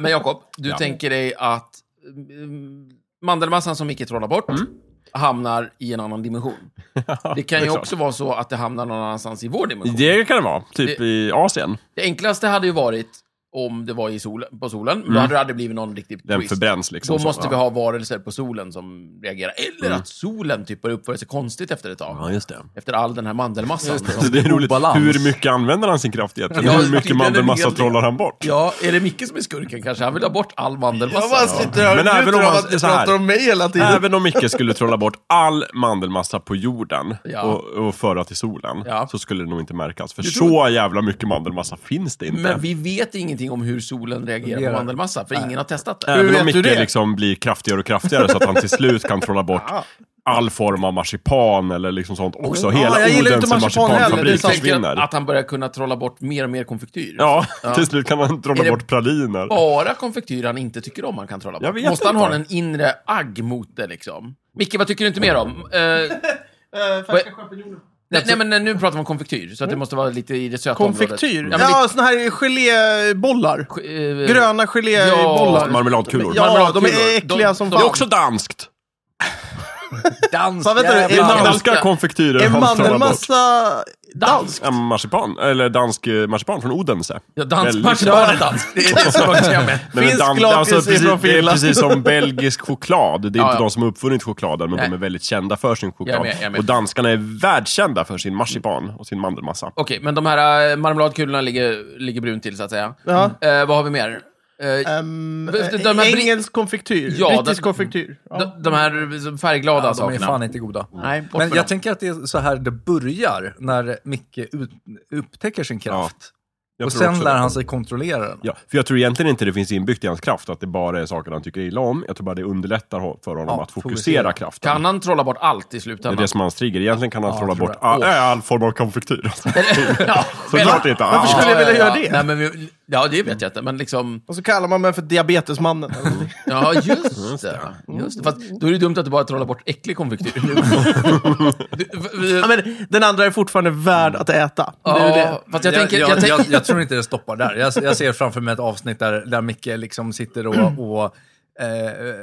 men Jakob, du
Ja.
tänker dig att mm, mandelmassan som Micke trollar bort
Mm.
hamnar i en annan dimension. Det kan
det
ju
är klart.
också vara så att det hamnar någon annanstans i vår dimension. Det,
Det kan det vara. Typ i Asien.
enklaste hade ju varit om det var i solen, på solen, men då hade det aldrig blivit någon riktig
Mm. Den
twist.
förbränns liksom.
Då
så,
måste
ja. Mm.
vi ha varelser på solen som reagerar. Eller att solen typ börjar uppföra sig konstigt efter ett tag.
Ja, just det.
Efter all den här mandelmassan.
Så
Som,
det är roligt.
Obalans.
Hur mycket använder han sin kraft egentligen?
Ja,
Hur
det är
mycket
en
mandelmassa
hel del.
trollar han bort?
ja, är det Micke som är skurken kanske? Han vill ha bort all mandelmassa.
Jag bara sitter och
Men även
njuter
om
av
man-
att ni
så här.
pratar om mig hela tiden.
Även om Micke skulle trolla bort all mandelmassa på jorden
Ja.
och, och föra till solen,
Ja.
så skulle det nog inte märkas. För
tror-
så jävla mycket mandelmassa finns det inte.
Men vi vet ingenting om hur solen reagerar
Fungerar.
på mandelmassa, för ingen har testat det.
Hur
Även
vet
om
du
Micke
det?
liksom blir kraftigare och kraftigare så att han till slut kan trolla bort all form av marsipan eller liksom sånt också. Hela
jag gillar inte
Odense
marsipan heller, det är
marsipanfabrik
Du tänker
försvinner.
att han börjar kunna trolla bort mer och mer konfektyr?
Ja, till slut kan han
Är
trolla
det
bort praliner.
Bara konfektyr han inte tycker om han kan trolla
Jag
bort?
vet
Måste han
inte.
ha en inre agg mot det liksom? Micke, vad tycker du inte mer om? Eh,
Färska champinjoner.
nej, nej, men nu pratar vi om konfektyr, så
Mm.
att det måste vara lite i det söta
Konfektyr?
området.
Ja, såna här gelébollar.
men lite- eh,
Gröna gelébollar.
Marmeladkulor.
Ja,
Marmeladkulor.
de är äckliga
De-
som
de-
Det är
fan.
också danskt!
Dansk
Fan, vänta nu,
jävla-
är man-
Danska konfektyrer
En
han trollar bort.
mandelmassa dansk.
Ja, marsipan, eller dansk eh, marsipan från Odense.
Ja, dans,
Väldigt-
match, bara dans. Det är det som är jag med.
Nej, men
Finsk
dam-
lakrits är
precis,
från
Det är
Finland.
precis som belgisk choklad. Det är
Ja,
inte
ja.
de som har uppfunnit chokladen, men
Nej.
de är väldigt kända för sin choklad.
Jag är med, jag är med.
Och danskarna är världskända för sin marsipan och sin mandelmassa.
Okej, men de här eh, marmeladkulorna ligger, ligger brunt till, så att säga.
Ja.
Eh, vad har vi mer? Eh,
Ehm,
De- de- de här bri-
engelsk konfektyr.
Ja,
Brittisk
de-
konfektyr. Ja.
de, de här liksom färgglada
Ja, de är
sakerna.
fan inte goda.
Nej, bort
Men
med
jag
dem.
tänker att det är så här det börjar, när Micke ut, upptäcker sin kraft.
Jag
och
tror
sen
också
lär
det.
han sig kontrollera den.
Ja, för jag tror egentligen inte det finns inbyggt i hans kraft att det bara är saker han tycker illa om. Jag tror bara det underlättar ho- för honom
Ja,
att fokusera,
fokusera.
kraften.
Kan han trolla bort allt i
Det är
slutändan?
det som är hans trigger. Egentligen kan han
Ja,
trolla
tror
bort
jag.
all, Äh, all form av konfektyr.
ja,
Såklart inte.
Varför
Ah,
skulle jag vilja göra det?
Nej, men vi, ja, det vet jag inte, men liksom...
Och så kallar man mig för diabetesmannen.
Ja, just det. Just det. Fast då är det dumt att du bara trollar bort äcklig konfektyr. Du- du-
ja, men den andra är fortfarande värd att äta. Det är ju det.
Ja, fast jag tänker...
jag,
Jag, tänker-
jag, jag tror inte det stoppar där. Jag, jag ser framför mig ett avsnitt där, där Micke liksom sitter och... och eh,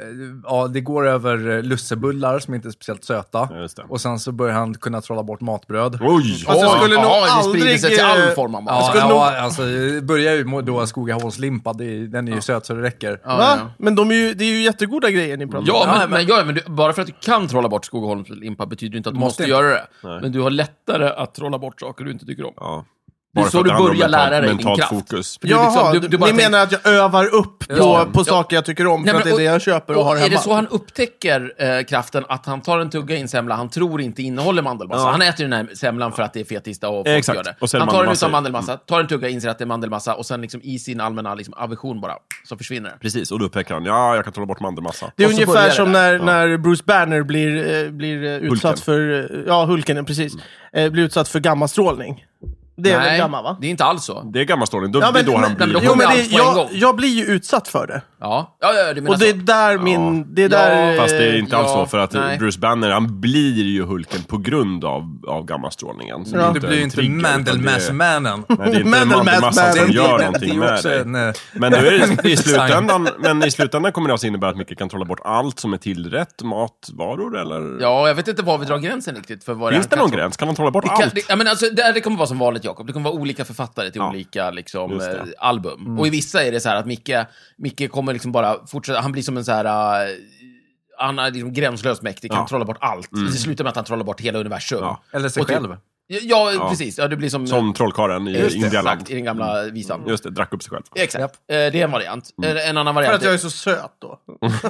ja, det går över lussebullar som inte är speciellt söta.
Ja, just det.
Och sen så börjar han kunna trolla bort matbröd.
Oj!
Alltså,
Fast jag skulle
Ja,
nog
det sprider
aldrig...
sig till all
eh,
form av
Ja,
mat.
skulle
ja
nog-
alltså, det börjar ju med då Skogaholmslimpa, det är- den är ju söt så det räcker.
Ja,
Va?
ja.
Men de är ju, det är ju jättegoda grejer ni pratar om.
Ja, men, men, ja, men du, bara för att du kan trolla bort Skogaholmslimpa betyder inte att du måste,
Måste inte.
göra det.
Nej.
Men du har lättare att trolla bort saker du inte tycker om.
Ja.
Det är
Bara
så
för att
du
det handlar om
börjar
mental-
lära dig din
mentalt
kraft.
fokus.
det är
Jaha,
liksom- du- du bara
ni
tänker-
menar att jag övar upp på,
Ja.
på
Ja.
saker jag tycker om för
Nej, men
att det är
och-
det jag köper och, har hemma?
Är det så han upptäcker eh, kraften att han tar en tugga i en semla han tror inte innehåller mandelmassa? Han äter ju den här semlan för att det är fetista och folk
Eh, exakt.
gör det.
Och sen
han tar den
mandelmassa
utan
i.
mandelmassa, tar en tugga, inser att det är mandelmassa och sen liksom i sin allmänna liksom, aversion bara, så försvinner det.
Precis, och då upptäcker han, ja, jag kan trolla bort mandelmassa.
Det är
Och så
ungefär
börjar det
som
där.
när, när Bruce Banner blir, eh, blir eh, utsatt
Hulken. Mm.
för... eh, Ja, Hulken, ja, precis. Eh, blir utsatt för gammastrålning. Det är väl gamma, va?
det är inte alls så.
Det är gammal story. Då,
Ja,
det är
men-
då han
men-
blir...
men då-
Jo, men
kommer
det,
allt på en gång.
jag, jag blir ju utsatt för det.
Ja, ja, ja du menar
Och det är
så.
där min... Det är där...
Fast det är inte alls
ja,
så, för att
nej.
Bruce Banner, han blir ju Hulken på grund av, av gammastrålningen. Så
Ja.
är
Du blir ju
en
inte
trigger, utan det är-
Mandelmass-mannen.
Nej, det är inte
Mandelmass
mandelmassan
Man.
som
Det- det-
gör
det-
någonting
det är ju
med
också
dig.
en, eh,
Men, då är det,
Sign.
i slutändan, men i slutändan kommer det alltså innebära att Micke kan trolla bort allt som är tillrätt, matvaror eller?
Ja, jag vet inte var vi drar gränsen riktigt. För vad
Finns
är
det
han
någon
kan-
gräns? Kan han trolla bort
Det, kan,
allt?
det, ja, men alltså, det, här- det kommer vara som vanligt, Jakob. Det kommer vara olika författare till
Ja.
olika liksom,
Just det. Mm.
eh, album. Och i vissa är det så här att Micke, Micke kommer liksom bara fortsätta. Han blir som en så här... eh, han är liksom gränslöst mäktig, kan
Ja. Mm.
trolla bort allt. Det slutar med att han trollar bort hela universum. Ja,
Ja.
Eller sig
Och typ-
själv.
ja,
Ja.
precis. Ja, det blir som...
Som trollkaren i
Just det,
Indialand.
Exakt, i den gamla visan.
Just det, Mm. drack upp sig själv.
Exakt. Eh, Det är en variant. Eh, En annan
För
variant...
att jag är så söt då.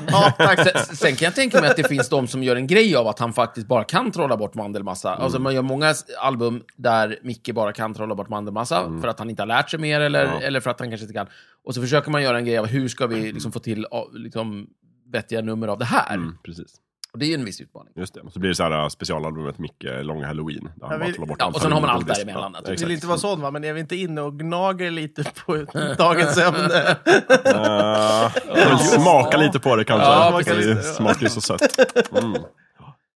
ja, tack.
Sen, sen kan jag tänka mig att det finns de som gör en grej av att han faktiskt bara kan trolla bort mandelmassa.
Mm.
Alltså man gör många s- album där Micke bara kan trolla bort mandelmassa för att han inte har lärt sig mer eller,
Mm. Ja. Mm.
eller för att han kanske inte kan. Och så försöker man göra en grej av hur ska vi liksom få till ah, liksom, vettiga nummer av det här.
Mm, precis.
Och det är ju en viss utmaning.
Just det. Och så blir det så här äh, specialalbumet Micke Lång Halloween. Där han
Jag
bara
vill-
trollar bort
Ja,
allt
och sen har man allt
halloweengodis.
däremellan,
Ja,
naturligtvis.
Jag vill
exakt.
inte vara sån va, men är vi inte inne och gnager lite på dagens ämne?
Äh, jag vill smaka lite på det kanske.
Ja,
det
precis.
smakar ju så sött. Mm.